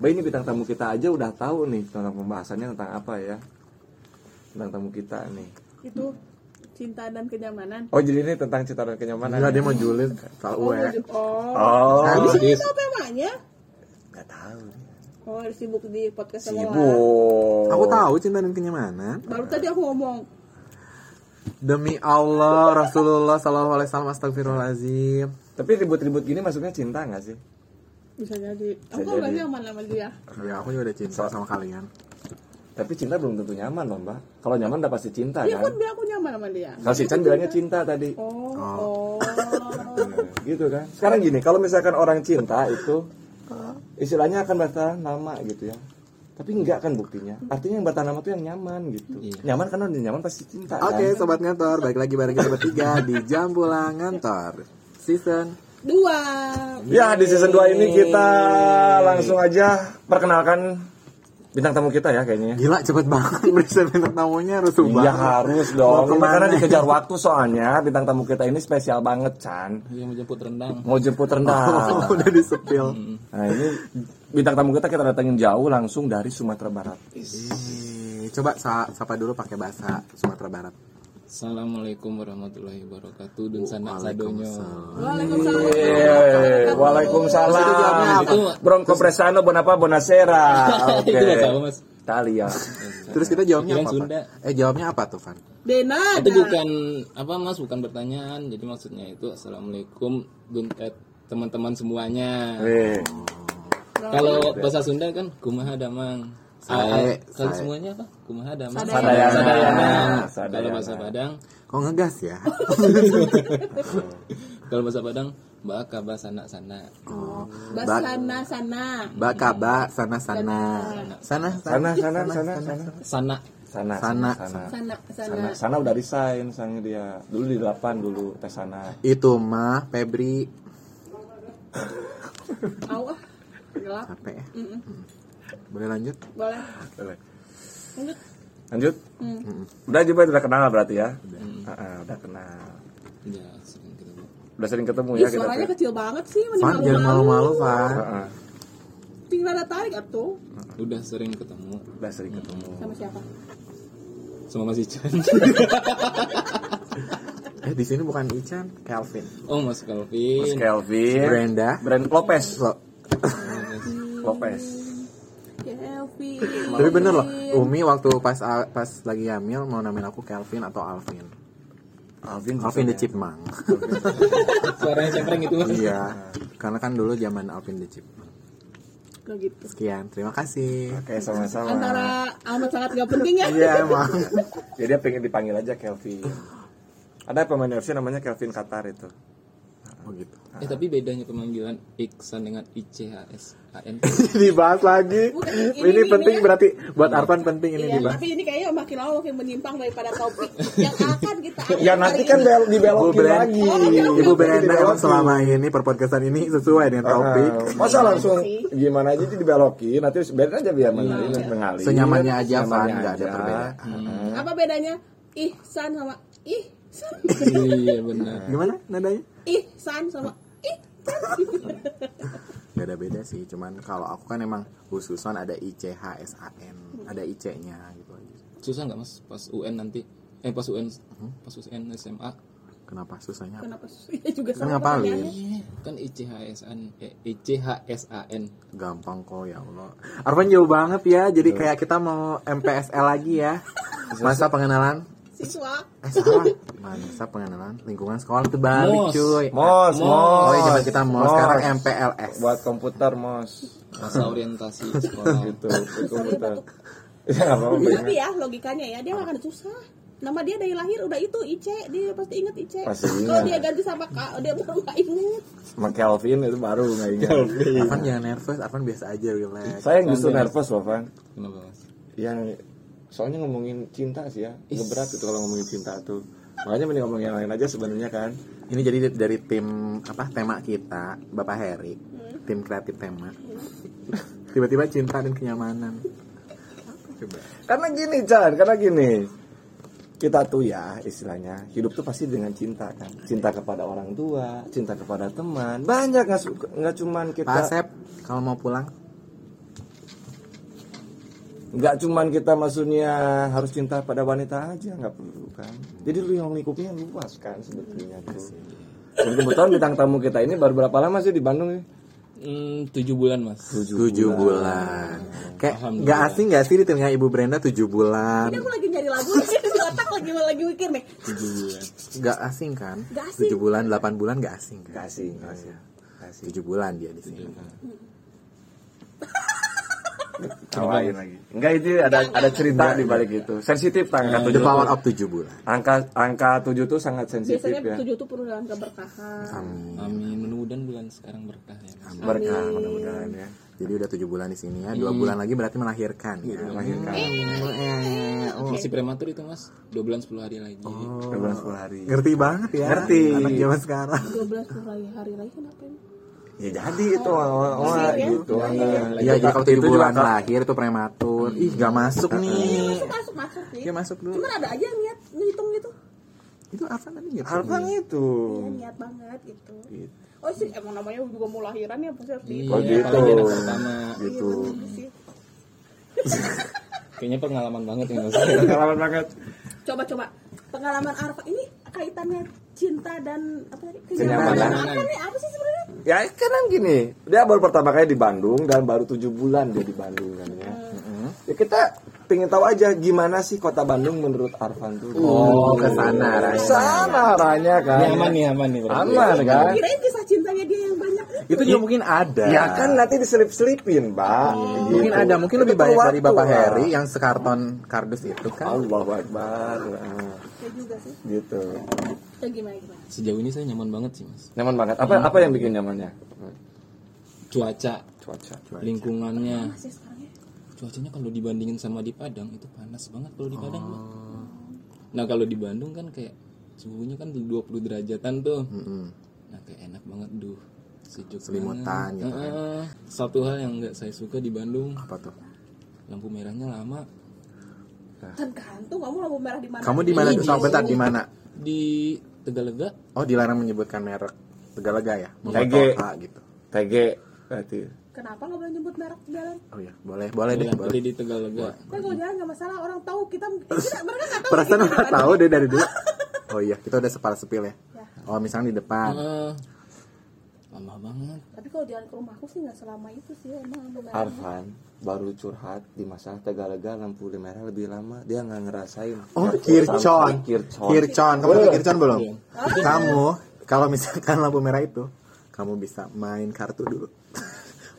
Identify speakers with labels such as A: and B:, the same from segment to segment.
A: Mbak ini bintang tamu kita aja udah tahu nih tentang pembahasannya tentang apa ya. Tentang tamu kita nih.
B: itu cinta dan kenyamanan
A: Oh jadi ini tentang cinta dan kenyamanan.
C: Enggak
A: ya?
C: dia mau julid tahu
B: oh,
C: ya.
B: bujuk- oh.
A: Oh,
B: Habis ini
C: habis.
B: tahu temanya
C: Enggak tahu.
B: oh sibuk di podcast sama Wawan.
A: sibuk.
C: Aku tahu cinta dan kenyamanan.
B: baru tadi aku ngomong
C: Demi Allah Rasulullah Sallallahu Alaihi Wasallam Astagfirullahaladzim.
A: Tapi ribut-ribut gini maksudnya cinta nggak sih?
B: bisa jadi aku
A: jadi.
B: nggak nyaman sama dia
C: Ya aku juga udah cinta sama kalian.
A: Tapi cinta belum tentu nyaman loh mbak. Kalau nyaman udah pasti cinta
B: dia
A: kan.
B: kan bilang aku nyaman sama dia
A: Kalau si Chan bilangnya cinta tadi.
B: oh
C: Oh.
B: oh
A: gitu kan sekarang gini kalau misalkan orang cinta itu istilahnya akan bertahan lama gitu ya tapi enggak kan buktinya artinya yang bertahan lama tuh yang nyaman gitu
C: Iya.
A: nyaman karena udah nyaman pasti cinta kan?
C: Oke sobat ngantor, balik lagi bareng kita bertiga di jam pulang ngantor season.
B: dua
A: ya di season 2 ini kita langsung aja perkenalkan bintang tamu kita ya kayaknya
C: Gila cepet banget berita bintang tamunya rusuh banget.
A: Ya harus
C: Mau
A: dong,
C: kemana?
A: karena dikejar waktu soalnya bintang tamu kita ini spesial banget Chan
D: Dia mau jemput rendang.
A: Mau jemput rendang
C: Oh, udah disepil.
A: Nah ini bintang tamu kita kita datangin jauh langsung dari Sumatera Barat
C: Ih, Coba sa- sapa dulu pakai bahasa Sumatera Barat.
D: Assalamualaikum warahmatullahi wabarakatuh. Dan sanak sadonyo.
C: Waalaikumsalam.
B: Waalaikumsalam
A: Iya, Waalaikumsalam.
C: Itu jawabnya
A: Itu
D: apa?
A: Bronco Presano Bonapa Bonasera. Oke.
D: Ah, Itu bahasa apa, Mas?
A: Italia.
C: Terus kita jawabnya
D: Pikiran
C: apa? Van?
D: Sunda.
C: Eh jawabnya apa tuh Van?
B: Denada
D: Itu bukan apa Mas, bukan pertanyaan. Jadi maksudnya itu assalamualaikum duntet teman-teman semuanya.
A: Weh.
D: Kalau bahasa Sunda kan kumaha damang.
C: Sae,
D: Ah, Kalau
C: sae.
D: semuanya apa? Kumaha damang.
B: Sadayana.
D: Sadayana.
A: Sadayana.
D: Kalau bahasa Padang,
C: Kok ngegas ya?
D: kalau bahasa Padang, mbak kabah sanak sana.
C: Oh, ba-
B: basana sana
C: ba kaba sana sana sana
A: Sana sana sana sana. Sana
D: Sana.
C: Sana.
A: sana.
B: sana
A: Sana,
B: sana
A: sana udah resign sang dia. Dulu di delapan dulu tes sana.
C: Itu mah Febri
B: awah ah. gelap
C: capek ya?
B: Mm-mm.
C: Boleh lanjut?
B: boleh lanjut
A: Lanjut.
B: Hmm.
A: Udah juga udah kenal berarti ya. Heeh, udah kenal.
D: Ya, sering ketemu.
A: Udah sering ketemu
B: Ih,
A: ya kita.
B: Iya, suaranya
A: tuh.
B: kecil banget sih,
C: Van
B: mending
C: jangan malu-malu
B: malu-malu.
C: Van.
A: Heeh,
B: Tinggal ada tarik atuh.
D: Udah sering ketemu
A: udah sering ketemu.
B: Sama siapa?
D: sama Mas Ican.
C: Eh di sini bukan Ican, Calvin.
D: oh, Mas
A: Mas
D: Kelvin.
C: Iya.
A: Kelvin.
C: Brenda.
A: Brand Lopez.
C: Lo-
A: Lopez.
B: Kelvin.
C: tapi bener loh, Umi waktu pas pas lagi hamil mau namain aku Calvin atau Alvin.
A: Alvin. ya?
C: Alvin
A: maksudnya.
C: the Chipmunk.
D: Suaranya cempreng itu, Mas.
C: Iya. Karena kan dulu zaman Alvin the Chipmunk.
B: Kayak gitu.
C: Sekian, terima kasih.
A: Oke, sama-sama.
B: Antara amat sangat gak penting ya.
C: Iya emang.
A: Jadi dia pengen dipanggil aja Kelvin. Ada pemain FC namanya Kelvin Qatar itu.
C: Oh gitu.
A: Ah.
D: Eh tapi bedanya pemanggilan Iksan dengan ICHS AN.
C: dibahas lagi.
B: Bukan,
C: ini,
B: ini- ini
C: penting
B: ya.
C: berarti buat Arfan penting ini
B: Iya,
C: dibahas.
B: tapi ini kayaknya makin lama makin menyimpang daripada topik yang akan kita
A: Ya nanti kan bel
C: Ibu
A: dibelokin Oh,
C: Brenda,
A: lagi.
C: Ibu Brenda
A: Dibelokin.
C: emang selama ini perpodcastan ini sesuai dengan topik.
A: Ah, masa langsung gimana aja dibelokin nanti biarin aja biar mengalir mengalir.
C: Iya, Senyamannya aja, Hmm.
A: Senyamannya
C: Van, nggak ada
A: aja.
C: perbedaan.
A: Heeh.
B: apa bedanya ihsan sama ihsan
D: iya benar.
A: Ah.
C: Gimana nadanya?
B: ihsan sama ih
C: Gak ada beda sih, cuman kalau aku kan emang khususan ada ICHSAN, ada IC-nya gitu aja.
D: Susah nggak Mas pas UN nanti? Eh pas UN
A: Hmm?
D: pas UN SMA
C: Kenapa susahnya?
B: kenapa susah Iya juga
C: Kan
B: sama
C: ngapalin.
B: pertanyaannya.
D: kan ICHS AN eh, ICHS AN.
C: Gampang kok ya Allah. Arfan jauh banget ya, jadi kayak kita mau MPSL lagi ya. Masa pengenalan?
B: siswa
C: Eh salah. Masa pengenalan lingkungan sekolah itu balik
D: Mos.
C: cuy.
A: Mos, mos.
C: Oh iya zaman kita mau sekarang MPLS.
A: buat komputer mos Ah.
D: Masa orientasi sekolah.
A: gitu buat komputer. Ya nggak apa-apa.
B: tapi ya logikanya ya dia gak akan susah nama dia dari lahir udah itu Ice dia pasti inget Ice
A: Pasti ingat.
B: kalau dia ganti sama kak dia baru gak inget
A: Sama Kelvin itu baru nggak ingat.
C: Arfan jangan nervous, Arfan biasa aja relax.
A: Saya yang justru nervous loh Van.
D: Kenapa Mas?
A: yang soalnya ngomongin cinta sih ya ngeberat itu kalau ngomongin cinta tuh makanya mending ngomongin yang lain aja sebenarnya kan
C: Ini jadi dari tim apa tema kita, Bapak Heri, tim kreatif tema. Tiba-tiba cinta dan kenyamanan. Coba.
A: karena gini Chan karena gini kita tuh ya istilahnya hidup tuh pasti dengan cinta kan cinta kepada orang tua cinta kepada teman banyak nggak su- nggak cuman kita
C: Pak Asep, kalau mau pulang
A: nggak cuman kita maksudnya harus cinta pada wanita aja nggak perlu kan jadi lu yang lingkupnya luas kan sebetulnya tuh dan kebetulan bintang tamu kita ini baru berapa lama sih di Bandung ya?
D: Hmm, tujuh bulan mas.
C: tujuh bulan. Kayak
D: Alhamdulillah.
C: nggak asing nggak sih di telinga Ibu Brenda tujuh bulan?
B: Ini aku lagi nyari lagu, ini di otak lagi lagi mikir nih.
D: Tujuh bulan.
C: Nggak asing kan?
B: Nggak asing.
C: Tujuh bulan, delapan bulan nggak asing
A: Nggak
C: kan?
A: asing, nggak
C: Nggak
A: asing.
C: asing. Tujuh bulan dia di sini.
A: Tawain lagi. Enggak itu ada ada cerita di balik itu. Sensitif angka
C: Nah, The
A: tujuh.
C: power of tujuh bulan.
A: Angka angka tujuh tuh sangat sensitif
B: Biasanya
A: ya.
B: tujuh itu penuh dengan keberkahan.
C: Amin.
D: Amin. Mudah-mudahan bulan sekarang berkah ya. Mas.
A: Berkah mudah-mudahan ya.
C: Jadi udah tujuh bulan di sini ya. Dua bulan lagi berarti melahirkan. Ya.
A: Melahirkan. Oh.
D: Masih prematur itu mas. Dua bulan sepuluh hari lagi.
A: Dua bulan sepuluh hari.
C: Ngerti banget ya.
A: Ngerti.
C: Anak zaman sekarang.
B: Dua belas hari hari lagi kenapa ini?
A: Ya jadi itu wah wah
B: Masih, ya?
A: gitu.
C: Oh, Iya, jadi kalau tujuh
A: Itu juga
C: bulan lahir itu prematur. Ih, nggak masuk nih.
B: Masuk masuk masuk nih.
C: Iya masuk dulu.
B: Cuman ada aja yang niat ngitung gitu.
C: Itu apa tadi ya?
A: Alvan itu.
B: Iya
C: Hmm.
B: niat banget gitu. Oh sih emang namanya juga mau lahiran ya pasti harus dihitung.
A: Oh,
D: Iya,
A: gitu.
D: apalagi anak pertama.
A: Gitu.
B: Iya sih.
D: Kayaknya pengalaman banget ya mas.
A: Pengalaman banget.
B: Coba coba pengalaman Arfa ini kaitannya cinta dan apa tadi
A: Kenyamanan.
B: kenyamanan apa nih apa sih sebenarnya?
A: Ya kadang gini, dia baru pertama kali di Bandung dan baru tujuh bulan dia di Bandung kan ya.
C: Hmm.
A: Ya kita pengen tahu aja gimana sih kota Bandung menurut Arvan tuh.
C: Oh, ke sana Rai.
A: Sana arahnya kan.
D: Ini aman nih aman nih. berarti.
A: Aman kan?
B: Kirain kisah cintanya dia yang banyak nih.
C: Itu juga mungkin ada.
A: Ya kan nanti diselip-selipin, Mbak. Gitu.
C: Iya Mungkin ada, mungkin
A: Itu
C: lebih banyak
A: perlu
C: dari Bapak
A: waktu,
C: Heri
A: Mbak.
C: yang sekarton kardus itu kan.
A: Allahu Akbar. Nah,
B: Ya juga sih.
A: Gitu.
B: Ya gimana gimana?
D: Sejauh ini saya nyaman banget sih mas.
A: Nyaman banget. Apa apa yang bikin nyamannya?
D: Cuaca,
A: Cuaca.
D: lingkungannya.
B: Masih sekarang ya.
D: Cuacanya kalau dibandingin sama di Padang itu panas banget kalau di Padang. Mas.
C: Oh.
D: Nah kalau di Bandung kan kayak suhunya kan 20 derajatan tuh.
C: Mm-mm.
D: Nah kayak enak banget duh. Sejuk
C: Selimutan
D: banget.
C: gitu kan.
D: Heeh. Satu hal yang nggak saya suka di Bandung
C: Apa tuh?
D: lampu merahnya lama
B: Tergantung Kan kamu lampu merah di mana? Iya,
C: Kamu di mana tuh? Tahu bentar di mana?
D: di Tegalega
C: Oh, dilarang menyebutkan merek. Tegalaga ya?
A: Tege.
C: Motoka gitu.
A: TG berarti.
B: Kenapa nggak boleh nyebut merek jalan?
C: Oh iya, boleh, boleh deh,
D: Yang
C: boleh.
D: tadi di Tegalega
B: Kan kalau jalan nggak masalah orang tahu kita, kita mereka nggak tahu.
C: Perasaan
B: kita di
C: udah
B: mana.
C: tahu deh dari dulu. Oh iya, kita udah sepal sepil ya.
B: Ya.
C: Oh, misalnya di depan.
D: Heeh. lama banget
B: Tapi kalau jalan ke rumahku sih nggak selama itu sih emang lampu merah.
A: Arfan baru curhat di masa Tegalega lampu merah lebih lama dia nggak ngerasain
C: Oh, kircon.
A: kircon
C: Kircon. Kamu tahu kircon belum?
D: Iya.
C: Kamu kalau misalkan lampu merah itu, kamu bisa main kartu dulu.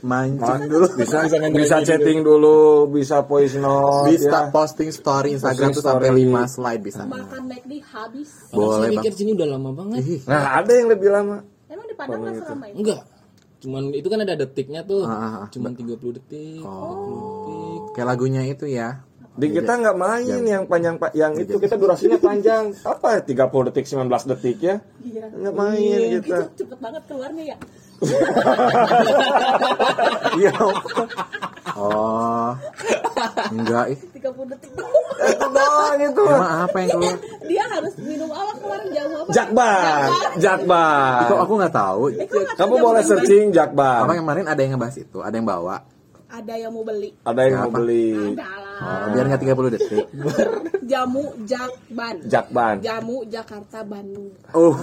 C: Mancing dulu.
A: bisa bisa chatting dulu bisa voice note ya.
C: bisa posting story
A: Posting
C: Instagram tuh sampai
A: story.
C: 5 slide bisa.
B: Makan McD habis.
D: Padahal
C: Boleh,
D: saya
C: Bang.
D: mikir sini udah lama banget
C: Ih,
A: nah ada yang lebih lama
B: Emang di Padang nggak selama itu?
D: enggak cuman itu kan ada detiknya tuh
C: Ah, Oh. ah, ah.
D: cuman 30 detik 40 detik
C: kayak lagunya itu ya.
A: di kita nggak main yang panjang pa- yang
C: Iya,
A: itu kita durasinya panjang apa 30 detik 19 detik ya
B: Iya.
A: nggak main
B: Itu
A: kita
B: cepet banget keluarnya ya.
C: Iya. oh. Enggak ih.
B: 30 detik.
A: itu doang itu
C: Emang apa yang keluar?
B: Dia harus minum awak kemarin jamu apa?
A: jakbar jakbar
C: Kok aku nggak tahu.
B: Eh, kok nggak tahu
A: kamu
B: jamu
A: boleh
B: yang
A: searching
C: Apa
A: jakbar
C: yang kemarin ada yang ngebahas itu, ada yang bawa.
B: baik? Ada yang mau beli.
A: ada yang mau
C: Apa?
A: beli
B: Ada lah.
C: Oh, biar nggak 30 detik.
B: Jamu Jakban.
A: jakban Uh.
B: Jamu Jakarta Bandung.
C: Oh.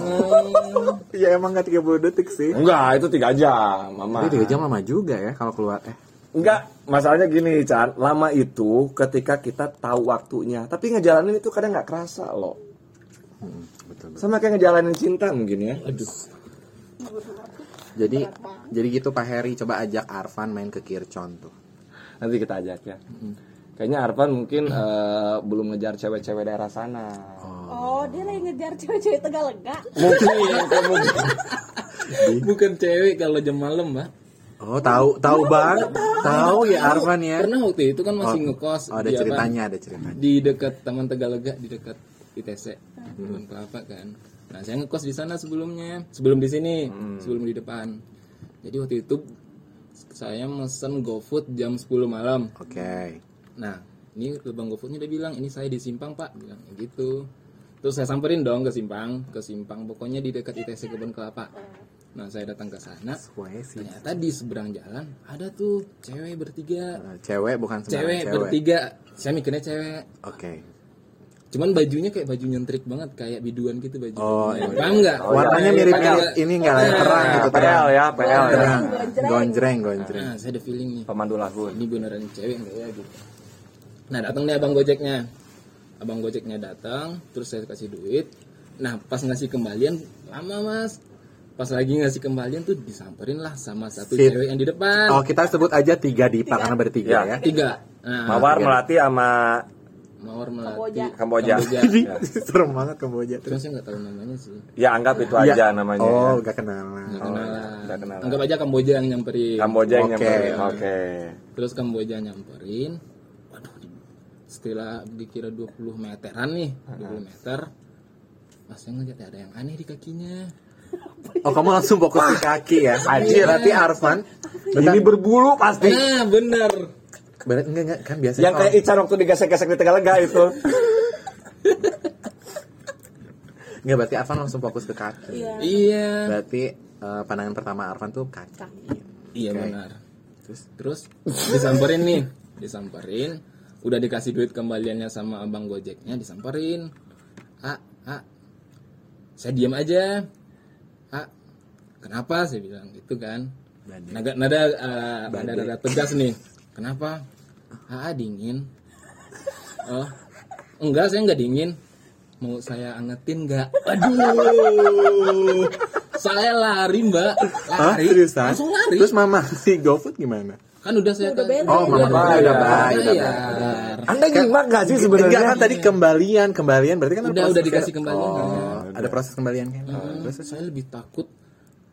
C: ya emang nggak 30 detik sih.
A: enggak itu tiga jam mama
C: Tapi tiga jam lama juga ya kalau keluar. Eh,
A: Enggak, masalahnya gini, Chan. Lama itu ketika kita tahu waktunya, tapi ngejalanin itu kadang nggak kerasa loh.
C: Hmm, betul.
A: Sama kayak ngejalanin cinta mungkin ya.
D: aduh
C: Jadi jadi gitu Pak Heri coba ajak Arfan main ke Kircon tuh.
A: Nanti kita ajak ya.
C: Hmm.
A: Kayaknya Arfan mungkin eh, belum ngejar cewek-cewek daerah sana.
B: Oh, dia lagi ngejar cewek-cewek Tegalega.
D: bukan cewek kalau jam malam mbak
C: Oh, tahu tahu banget. Tahu ya Arfan ya.
D: karena waktu itu kan masih
C: Oh,
D: ngekos
C: Oh, ada
D: di apa,
C: ceritanya, ada ceritanya.
D: di dekat Taman Tegalega di dekat ITC
C: Hmm.
D: Kebun Kelapa kan. Nah saya ngekos di sana sebelumnya, sebelum di sini,
C: Hmm.
D: sebelum di depan. Jadi waktu itu saya mesen GoFood jam 10 malam.
C: Oke.
D: Nah ini lubang GoFoodnya dia bilang ini saya di Simpang Pak, bilang gitu. Terus saya samperin dong ke Simpang, ke Simpang pokoknya di dekat ITC Kebun Kelapa. Nah, saya datang ke sana.
C: Sesuai ya sih.
D: Ternyata di seberang jalan ada tuh cewek bertiga.
C: Eh, Cewek bukan sembarang
D: Cewek,
C: cewek.
D: bertiga. Saya mikirnya cewek.
C: Oke.
D: Cuman bajunya kayak baju nyentrik banget, kayak biduan gitu baju.
C: Oh, iya.
D: Paham nggak? Nah,
C: Warnanya Iya.
D: Kayak-
C: mirip
D: kayak-
C: ini enggak lah terang gitu terang.
A: PL ya, PL ya.
C: Terang. Gonjreng, gonjreng.
D: Nah, saya ada feeling nih.
A: Pemandu lagu.
C: Nah,
D: ini beneran cewek nggak ya gitu nah datang nih abang gojeknya abang gojeknya datang terus saya kasih duit nah pas ngasih kembalian lama mas pas lagi ngasih kembalian tuh disamperin lah sama satu
C: Sip.
D: cewek yang di depan
C: Oh, kita sebut aja tiga dipa karena bertiga
A: Ya.
C: ya.
D: tiga nah,
A: Mawar
C: iya.
A: melati sama
D: mawar melati
B: Kamboja.
A: Kamboja.
D: Kamboja.
C: Serem banget Kamboja
D: Cuman saya nggak tahu namanya sih
A: Ya anggap itu
C: Iya.
A: aja namanya.
C: Oh,
A: ya.
C: gak kenalan.
D: nggak
A: Oh,
D: kenal
A: nggak kenal.
D: anggap aja Kamboja yang nyamperin
A: Kamboja yang
C: Oke.
A: nyamperin. Oke.
D: terus Kamboja nyamperin waduh di- setelah dikira 20 meteran nih 20 meter pas saya ngeliat ada yang aneh di kakinya
C: Oh, kamu langsung fokus di kaki ya. Anjir, berarti harus man. Bentar,
A: Ini berbulu pasti.
D: nah bener
C: bener enggak enggak kan biasanya
A: Yang kayak Ican waktu digesek-gesek di tengah lega itu.
C: kalau- enggak berarti Arfan langsung fokus ke kaki.
B: Iya.
D: iya
A: Nah,
C: Berarti eh, pandangan pertama Arfan tuh kaki.
D: iya
C: Oke.
D: benar
C: Terus
D: terus disamperin nih disamperin udah dikasih duit kembaliannya sama abang gojeknya disamperin ah ah saya diam aja ah kenapa saya bilang gitu kan
C: Bandit.
D: Nada nada eh, nada, nada tegas nih. Kenapa? Aa dingin. Oh, enggak saya enggak dingin. Mau saya angetin enggak? Aduh. saya lari, Mbak.
C: Hah,
D: Lari.
C: seriusan?
D: Langsung lari.
C: Terus mama si GoFood gimana?
D: kan udah Iya, saya
B: Udah beres.
C: Oh, mama
A: bayar,
C: udah
A: bayar.
C: bayar.
D: Bayar.
A: Anda nyimak gak sih
C: Enggak
A: sebenarnya?
C: kan tadi kembalian, kembalian berarti kan ada
D: Udah,
C: proses
D: udah
C: ya?
D: dikasih kembalian,
C: Oh,
D: kan?
C: ada proses kembalian kan. Terus
D: Terus saya lebih takut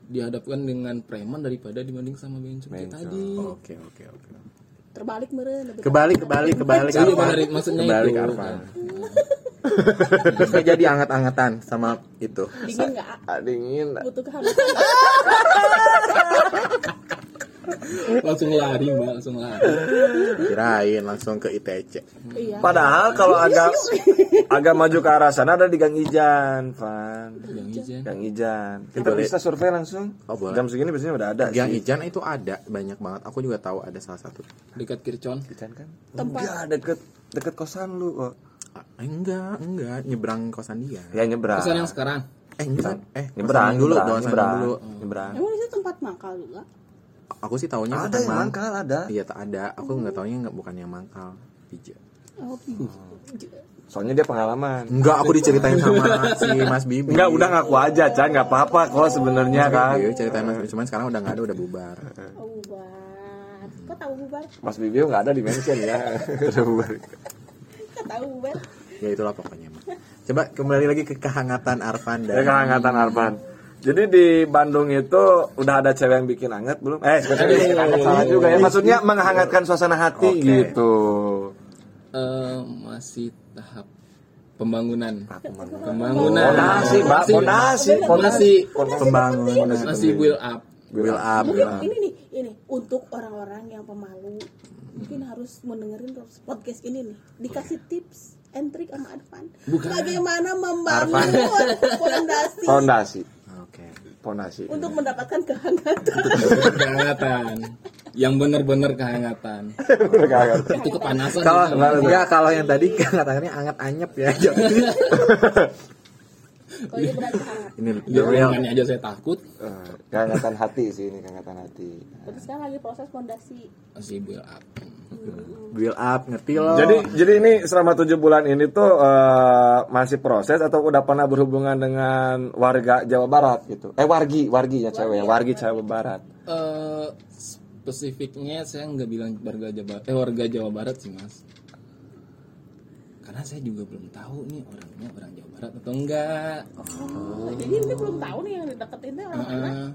D: dihadapkan dengan preman daripada dibanding sama bencong kayak tadi.
C: oke oke oke.
B: Terbalik meren lebih
C: Kebalik kebalik kebalik
D: Jadi
C: Arfan.
D: menarik, maksudnya
C: kebalik
D: itu.
C: Arfan. Terus nggak jadi anget-angetan sama itu.
B: dingin nggak ah?
A: Ah, dingin.
B: butuh kehangatan nggak?
D: Langsung lari, Mbak, langsung lari.
C: Kirain langsung ke ITC.
B: iya
A: Padahal kalau agak
C: iya,
A: agak maju ke arah sana ada di Gang Ijan, Van.
D: Yang ijen.
A: Gang Ijan. Kita
C: Boleh.
A: bisa survei langsung.
C: Oh, boleh.
A: Jam segini biasanya udah ada
C: Yang
A: sih.
C: Ijan itu ada banyak banget. Aku juga tahu ada salah satu.
D: Dekat Kircon.
A: Ijan kan?
B: Tempat.
A: Enggak, deket deket kosan lu kok.
C: Ah, enggak, enggak nyebrang kosan dia.
A: Ya nyebrang.
D: Pesan yang sekarang.
C: Eh, nyebrang. Eh,
A: Nyebrang
C: kosan dulu,
A: nyebrang,
C: kosan
A: nyebrang,
C: dulu.
A: Nyebrang.
B: emang itu tempat makal juga
C: Aku sih taunya
A: Ada
C: bukan
A: yang
C: mang-
A: mangkal ada.
C: Iya, tak ada. Aku nggak taunya nggak bukan yang mangkal. Pija.
B: oh
A: Soalnya dia pengalaman.
C: Enggak, aku diceritain sama si Mas Bibi.
A: Enggak, udah ngaku aja, Chan. Enggak apa-apa kok sebenarnya kan.
C: Iya, ceritain Mas Bibi. Cuman sekarang udah nggak ada, udah bubar.
B: oh bubar kok tahu bubar
A: Mas Bibi enggak ada di mention ya. Udah bubar.
B: kok tahu bubar
C: Ya itulah pokoknya. Mas. Coba kembali lagi ke kehangatan Arfan
A: Ya
C: dan
A: kehangatan Arfan. Jadi di Bandung itu udah ada cewek yang bikin anget belum? Eh, sebenarnya bikin anget salah juga ya. Maksudnya menghangatkan suasana hati
C: Oke.
A: gitu.
D: Eh, masih tahap pembangunan.
C: Ah,
A: pembangunan.
D: Pembangunan.
A: Fondasi, Mbak.
D: Masih-
A: Fondasi, fondasi.
D: Masih
C: pembangunan.
D: masih build up.
C: Will up,
B: mungkin
C: will up.
B: ini nih ini untuk orang-orang yang pemalu mungkin harus mendengarin podcast ini nih dikasih tips and trick sama Arfan
D: Bukan.
B: bagaimana membangun fondasi
A: Fondasi.
C: Oke.
A: Fondasi.
B: untuk mendapatkan kehangatan
D: kehangatan. Yang benar-benar kehangatan.
A: Kehangatan.
D: Itu kepanasan. gitu.
C: Kalau
D: itu.
C: enggak kalau yang tadi kehangatannya anget anyep ya. Jadi
B: kalau dia berarti hangat
C: ini
D: Ya,
A: Iya,
C: the real.
D: omongannya aja saya takut.
A: Eh, Kehangatan hati sih ini kehangatan hati.
B: terus kan lagi proses fondasi
D: Masih build up.
C: Will up, ngerti loh.
A: Jadi jadi ini selama tujuh bulan ini tuh eh, masih proses atau udah pernah berhubungan dengan warga Jawa Barat gitu? Eh wargi, wargi ya cewek, wargi Jawa Barat.
D: Eh, spesifiknya saya nggak bilang warga Jawa eh warga Jawa Barat sih mas. Karena saya juga belum tahu nih orangnya orang Jawa Barat atau enggak.
B: Oh, jadi ini belum tahu nih yang dideketinnya orang mana.
D: Eh,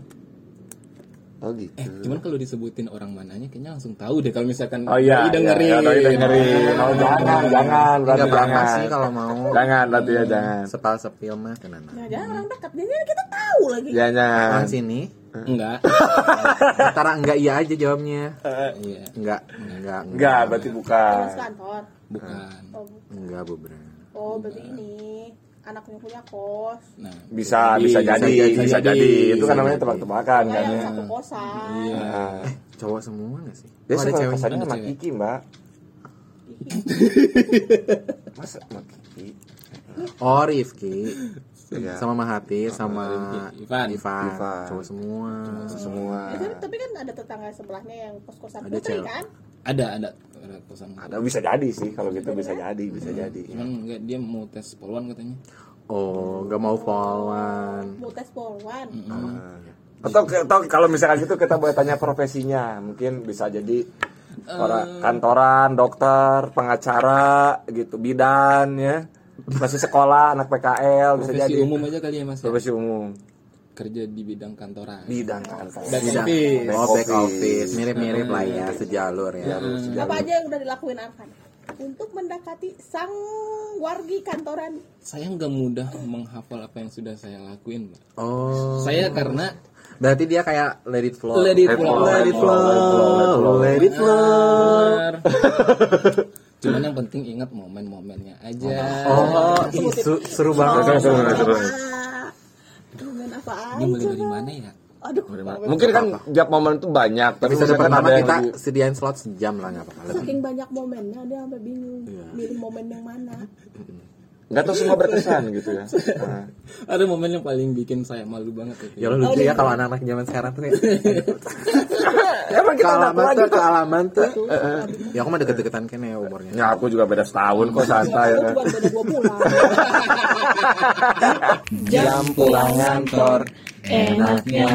A: Oh gitu.
D: Eh, cuman kalau disebutin orang mananya kayaknya langsung tahu deh kalau misalkan
A: Oh iya,
D: doi dengerin.
A: iya, doi dengerin. Oh, jangan, jangan, berarti
C: enggak berangkat
A: jangan.
C: sih kalau mau.
A: Jangan, berarti ya jangan.
C: Sepal sepil mah tenan.
B: Nah, jangan orang dekat, jadi kita tahu lagi.
A: Ya, Jangan.
C: Kan sini.
D: Enggak.
C: Antara enggak iya aja jawabnya.
A: Eh.
D: Iya,
C: Enggak, enggak,
A: Enggak, berarti bukan.
B: Terus kantor.
D: bukan.
B: Oh,
C: Enggak, Bubra.
B: oh berarti ini. anaknya punya kos
D: Nah,
A: bisa bisa jadi bisa,
D: bisa
A: jadi.
D: jadi.
A: itu kan namanya tebak-tebakan
B: Nah,
A: kan
B: yang
A: ya
B: satu kosan
D: iya.
A: nah,
C: Cowok semua gak sih?
A: dia
C: Oh, ada
A: suka
C: cewek.
A: kesannya
D: ada
A: sama
D: cewek.
A: Kiki mbak masa sama Kiki
C: Oh Rifki
A: Iya.
C: Sama Mahati Sama
D: Rifki. Ivan.
C: Ivan.
A: Ivan.
C: Cowok semua
A: semua
B: Itu, tapi kan ada tetangga sebelahnya yang kos kosan
C: Ada
B: putri
C: cewek.
B: kan
D: Ada ada ada kosan.
A: ada Nah, iya. bisa jadi sih kalau gitu bisa
D: Iya.
A: jadi bisa
D: Hmm.
A: jadi
D: Cuman enggak dia mau tes poluan katanya.
C: Oh gak mau followan
B: mau tes polwan
A: atau atau kalau misalkan gitu kita boleh tanya profesinya mungkin bisa jadi
D: Eh.
A: orang kantoran dokter pengacara gitu bidan ya masih sekolah anak PKL bisa
D: Profesi
A: jadi
D: umum aja kali ya Mas. ya?
A: profesi umum
D: Kerja di bidang kantoran.
A: bidan kan. kantor
D: Dan tapi
C: Oh back office Mirip-mirip lah ya Sejalur ya
B: apa aja yang udah dilakuin Arfan untuk mendekati sang wargi kantoran
D: saya nggak mudah menghafal apa yang sudah saya lakuin, Mbak.
C: Oh
D: Saya karena
C: Berarti dia kayak Let it flow
D: Let it flow.
C: Let it flow Let it flow
D: Benar. Cuman yang penting ingat momen-momennya aja.
C: Oh ih, seru, seru banget
A: Iya.
B: ah, aduh main apa
D: Ini mulai
B: aja
D: dari mana ya?
B: aduh
A: mungkin kan tiap momen itu banyak tapi
C: Episode
A: misalkan
C: pertama
A: ada yang
C: kita
A: lebih-
C: sediain slot sejam lah nggak apa-apa
B: saking banyak momennya dia sampai bingung milih momen yang mana
A: nggak tahu semua berkesan gitu ya Nah,
D: Ada momen yang paling bikin saya malu banget itu.
C: Ya lo lucu ya kalau anak-anak zaman sekarang tuh kayak
A: Ya, emang kita udah
C: kealaman
A: tua
C: tuh
A: gitu.
C: kealaman tuh. Ya aku mah deket-deketan kan ya umurnya.
A: ya aku juga beda setahun kok santai
B: Aku
A: ya.
B: cuma beda dua bulan
E: Jam pulang kantor Enaknya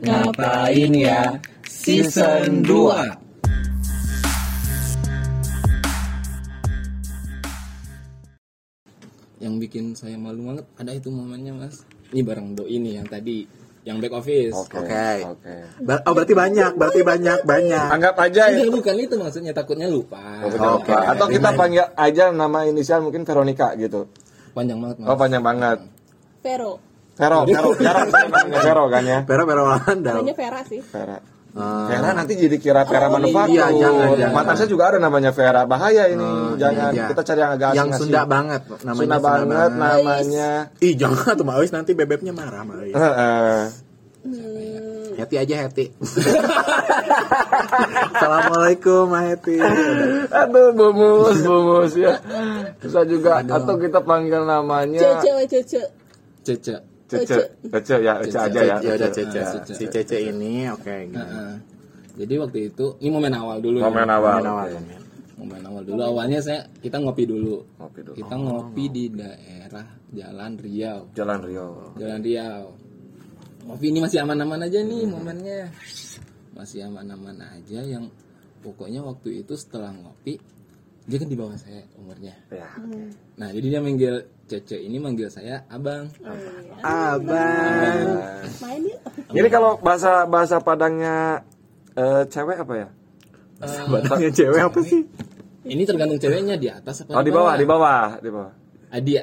E: Ya, Ngapain ya Season 2
D: Yang bikin saya malu banget ada itu momennya, Mas. Ini bareng doi nih yang tadi yang back office.
C: Oke.
A: oke
C: Ber- oh berarti banyak, berarti banyak, banyak.
A: anggap aja ya.
D: Enggak, bukan itu maksudnya takutnya lupa.
A: Oke.
C: Oke.
A: atau kita panggil aja nama inisial mungkin Veronica gitu
D: Panjang banget, Mas.
A: oh panjang banget
B: Vero
A: Vero, Vero, Vero, Vero, Vero kan ya?
C: Pero pero Walanda.
B: namanya Vera sih
A: Vera.
C: Eh,
A: Vera nanti jadi kira Vera manufaktur.
C: iya, jangan, jangan.
A: Mantan saya juga ada namanya Vera. Bahaya ini. jangan.
C: iya.
A: Kita cari Oh, yang agak asing.
C: yang Sunda banget namanya
A: Sunda banget nah. namanya.
C: Ih jangan tuh Maois nanti bebeknya marah sama Ois.
A: Heeh.
B: Hmm.
A: Hmm.
C: Hati aja hati. Assalamualaikum Ma Hati.
A: Aduh, bumus, bumus ya. Bisa juga atau kita panggil namanya
B: cece cece
D: Cece.
A: Cece. Cece ya, Cece aja ya.
C: Ya udah
A: Cece.
C: Cece. Si Cece ini oke. gini.
D: Heeh. Jadi waktu itu ini momen awal dulu.
A: Momen
D: ya.
A: awal.
C: Awal.
D: Momen awal dulu. Awalnya saya kita ngopi dulu.
A: Ngopi dulu.
D: Kita ngopi di daerah Jalan Riau.
A: Jalan Rio.
D: Jalan Riau. Ngopi ini masih aman-aman aja nih momennya. Masih aman-aman aja yang pokoknya waktu itu setelah ngopi dia kan di bawah saya umurnya.
A: Ya.
D: Nah, jadi dia manggil Cece ini manggil saya Abang.
B: Oh.
C: Abang.
B: Hmm. main yuk
A: Ini kalau bahasa bahasa Padangnya eh, cewek apa ya?
C: Batangnya cewek apa sih?
D: Ini tergantung ceweknya di atas apa
A: Oh di bawah, di bawah, di bawah.
D: Adia.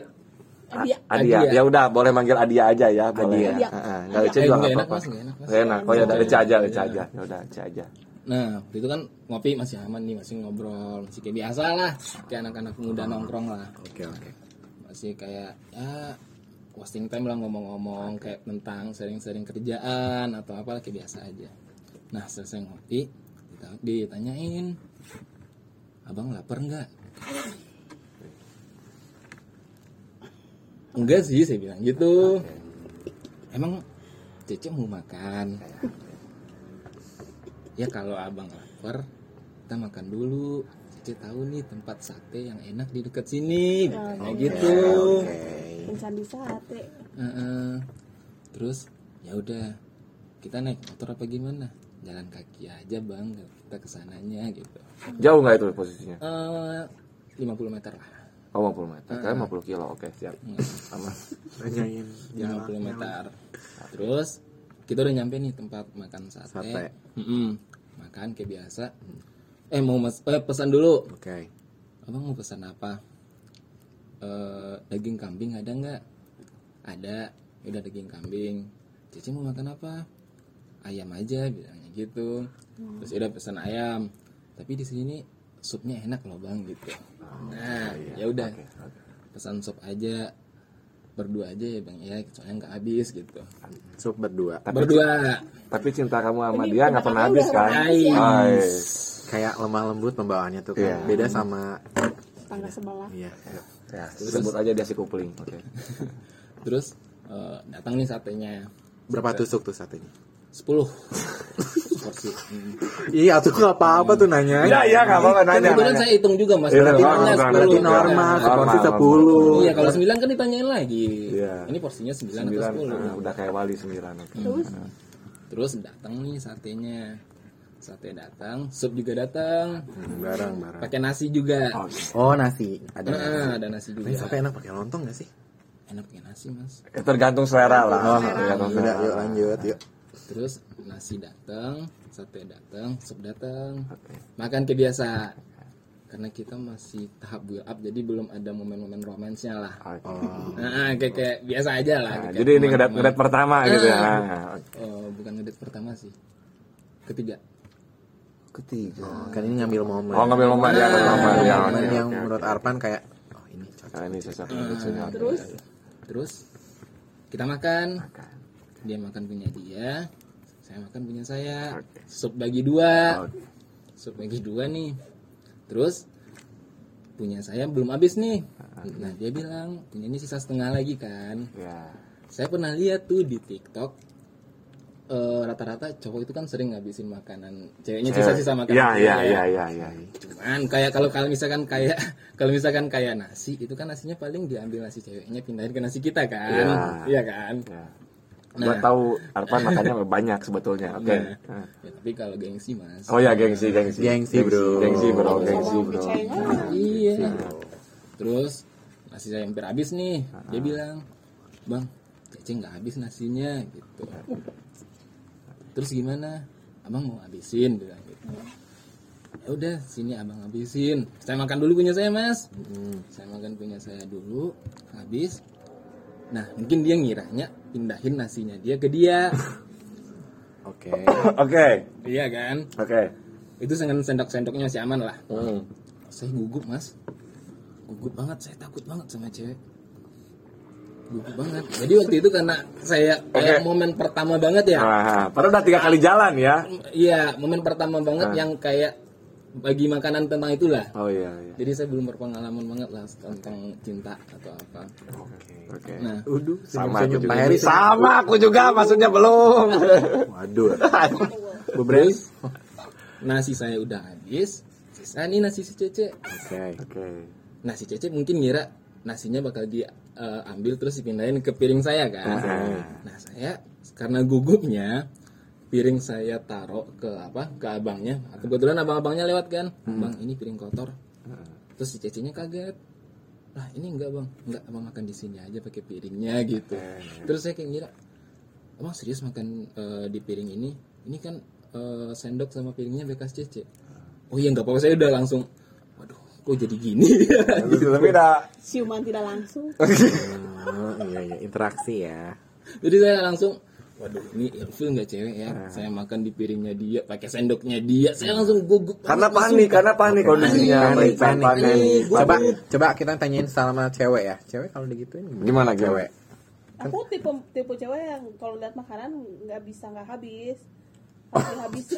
B: Adia
A: Adia.
D: Adia.
A: Ya udah, boleh manggil Adia aja ya, boleh.
B: Adia.
A: Heeh, Enggak Ece juga
D: Eh, nggak
A: enggak
D: enak,
A: apa-apa.
D: Mas, nggak enak, Mas.
A: Nggak enak. Oh ya udah Ece aja, Ece aja. Ya udah, Ece aja.
D: Nah, waktu itu kan ngopi masih aman nih, masih ngobrol, masih kayak biasa lah, kayak anak-anak muda nongkrong lah.
C: Hmm.
D: Nah,
C: Oke oke.
D: Masih kayak ya wasting time lah ngomong-ngomong kayak tentang sering-sering kerjaan atau apa kayak biasa aja. Nah, selesai ngopi, dita- ditanyain, "Abang lapar nggak?" Enggak sih, saya bilang gitu. Emang Cece mau makan? ya kalau abang lapar, kita makan dulu. Cece tahu nih tempat sate yang enak di dekat sini. Kayak gitu.
B: insan di sate
D: Heeh. Terus ya udah kita naik motor apa gimana? Jalan kaki aja bang, kita kesananya gitu.
A: Jauh nggak itu posisinya?
D: Eh 50 meter lah.
A: Oh 50 meter, kayak 50 kilo, oke siap. Aman.
C: Tanyain
D: 50 meter. Terus kita udah nyampe nih tempat makan sate.
C: Sate.
D: Mm-mm. Makan kayak biasa. Eh mau mas- eh, pesan dulu.
C: Oke.
D: Abang mau pesan apa? Eh, daging kambing ada nggak? Ada. Ya Udah daging kambing. Cici mau makan apa? Ayam aja bilangnya gitu. Terus ya udah pesan ayam. Tapi di sini supnya enak loh bang gitu. Nah, ya udah. Pesan sup aja. berdua aja ya bang ya soalnya nggak habis gitu
C: Sup berdua.
D: berdua
A: Tapi cinta kamu sama
B: Ini
A: dia nggak pernah
B: pendapat
A: habis
B: udah
A: kan?
B: habis ya.
A: Hai.
C: Kayak lemah lembut pembawaannya tuh kan.
A: Iya.
C: Beda sama
B: tangga sebelah
C: iya.
A: Ya, sebut aja dia si kupling. Oke.
D: terus eh, datang nih satenya
C: Berapa tusuk tuh saat ini?
D: 10 porsi Hmm.
C: Iya, tuh nggak apa-apa tuh nanya.
A: Iya, iya nggak apa-apa
D: kan
A: nanya.
D: kebetulan
A: nanya.
D: saya hitung juga mas
A: Iya,
D: berarti
A: normal,
D: mana
A: normal,
C: Berarti
D: 10
A: normal.
C: normal, seporsi
A: Normal,
C: 10.
D: Iya kalau 9 kan ditanyain lagi.
A: Iya.
D: Ini porsinya
A: Sembilan,
D: 9, atau 10.
A: ah, udah kayak wali sembilan. oke.
B: terus
D: Terus datang nih satenya. Sate datang, sup juga datang.
C: Hmm, Barang, barang.
D: Pakai nasi juga.
C: Oh, nasi. Ada
D: Nah,
C: nasi.
D: ada nasi juga.
C: Ini sampai enak pakai lontong gak sih?
D: Enak pakai nasi, Mas.
A: Ya, tergantung selera lah. Oh, tergantung
C: Udah,
A: selera.
C: yuk lanjut, yuk.
D: Terus nasi datang, sate datang, sup datang.
A: Oke.
D: Makan kebiasaan. Karena kita masih tahap build up jadi belum ada momen-momen romansnya lah.
A: Oke.
C: Oh,
D: Nah, kayak, kayak biasa aja lah.
A: Nah,
D: kayak
A: jadi ini ngedat
D: teman-teman.
A: ngedat pertama gitu ya.
D: Ah.
A: Nah, oke.
D: Eh, bukan ngedate pertama sih. Ketiga.
A: Ketiga.
C: kan ini ngambil momen.
A: Oh ngambil momen ya, ngambil momen
C: Ngambil
A: ya.
C: momen
A: oke,
C: yang
A: oke,
C: menurut
A: oke.
C: Arpan kayak oh ini cocok.
A: Nah, ini sesuatu lucunya.
B: terus
D: Terus kita makan. Dia makan punya dia, saya makan punya saya.
A: Oke.
D: Sup bagi dua.
A: Oke.
D: Sup bagi dua nih. Terus punya saya belum habis nih. Nah, dia bilang punya ini sisa setengah lagi kan.
A: Ya.
D: Saya pernah lihat tuh di TikTok eh, rata-rata cowok itu kan sering ngabisin makanan ceweknya sisa-sisa makanan. Iya,
A: Ya,
D: cewek.
A: ya, ya, ya, ya.
D: Cuman kayak kalau kalau misalkan kayak kalau misalkan kayak nasi itu kan nasinya paling diambil nasi ceweknya pindahin ke nasi kita kan.
A: Iya.
D: Iya kan?
A: ya.
D: Nah.
A: Gua tahu Arpan makannya banyak sebetulnya. Oke. Eh.
D: Nah, ya, tapi kalau gengsi Mas.
A: Oh ya gengsi, gengsi.
C: Gengsi, bro.
A: Gengsi, bro.
B: Sama
A: Gengsi, bro.
B: Michelle-nya.
D: Iya. Terus nasi saya hampir habis nih. Dia bilang, "Bang, Cece nggak habis nasinya." gitu. Terus gimana? Abang mau habisin bilang gitu. Ya udah, sini Abang habisin. Saya makan dulu punya saya, Mas. Saya makan punya saya dulu, habis. Nah, mungkin dia ngiranya pindahin nasinya dia ke dia.
C: Oke.
A: Oke.
D: iya kan?
A: Oke.
D: Itu dengan sendok-sendoknya masih aman lah.
A: Hmm.
D: saya gugup mas gugup banget saya takut banget sama cewek gugup banget jadi waktu itu karena saya kayak
A: Oke.
D: momen pertama banget ya
A: Ah, padahal udah tiga kali jalan ya.
D: iya momen pertama
A: Ah.
D: banget yang kayak bagi makanan tentang itulah
A: Oh iya, iya.
D: jadi saya belum berpengalaman banget lah tentang cinta atau apa
A: Oke.
D: nah
C: Uduh,
A: Sama aku
C: senyum-senyum
A: juga.
C: Pak Heri.
A: Sama aku juga maksudnya belum.
C: Waduh.
D: beberapa nasi saya udah habis sisa nih nasi si cece
C: Oke.
A: Oke.
D: nasi cece mungkin ngira nasinya bakal diambil terus dipindahin ke piring saya kan Nah saya karena gugupnya piring saya taruh ke apa ke abangnya. Kebetulan abang-abangnya lewat kan, bang ini piring kotor. Terus si cecinya kaget. Lah ini enggak bang, enggak abang makan di sini aja pakai piringnya gitu. Terus saya kayak ngira, abang serius makan eh, di piring ini? Ini kan eh, sendok sama piringnya bekas cece. Oh iya nggak apa-apa saya udah langsung. Waduh kok jadi gini.
A: Tapi udah
B: siuman tidak langsung
C: Oh, iya iya interaksi ya.
D: Jadi saya langsung Waduh ini ilfil nggak cewek ya
C: Nah.
D: Saya makan di piringnya dia pakai sendoknya dia Saya langsung gugup
A: karena panik, karena panik kondisinya.
C: Panik,
A: Panik, panik.
C: panik.
A: Panik.
C: Coba coba kita tanyain sama cewek ya. Cewek kalau digituin
A: Gimana, gimana?
C: cewek?
B: aku tipe tipe cewek yang kalau lihat makanan nggak bisa nggak habis Harus habisin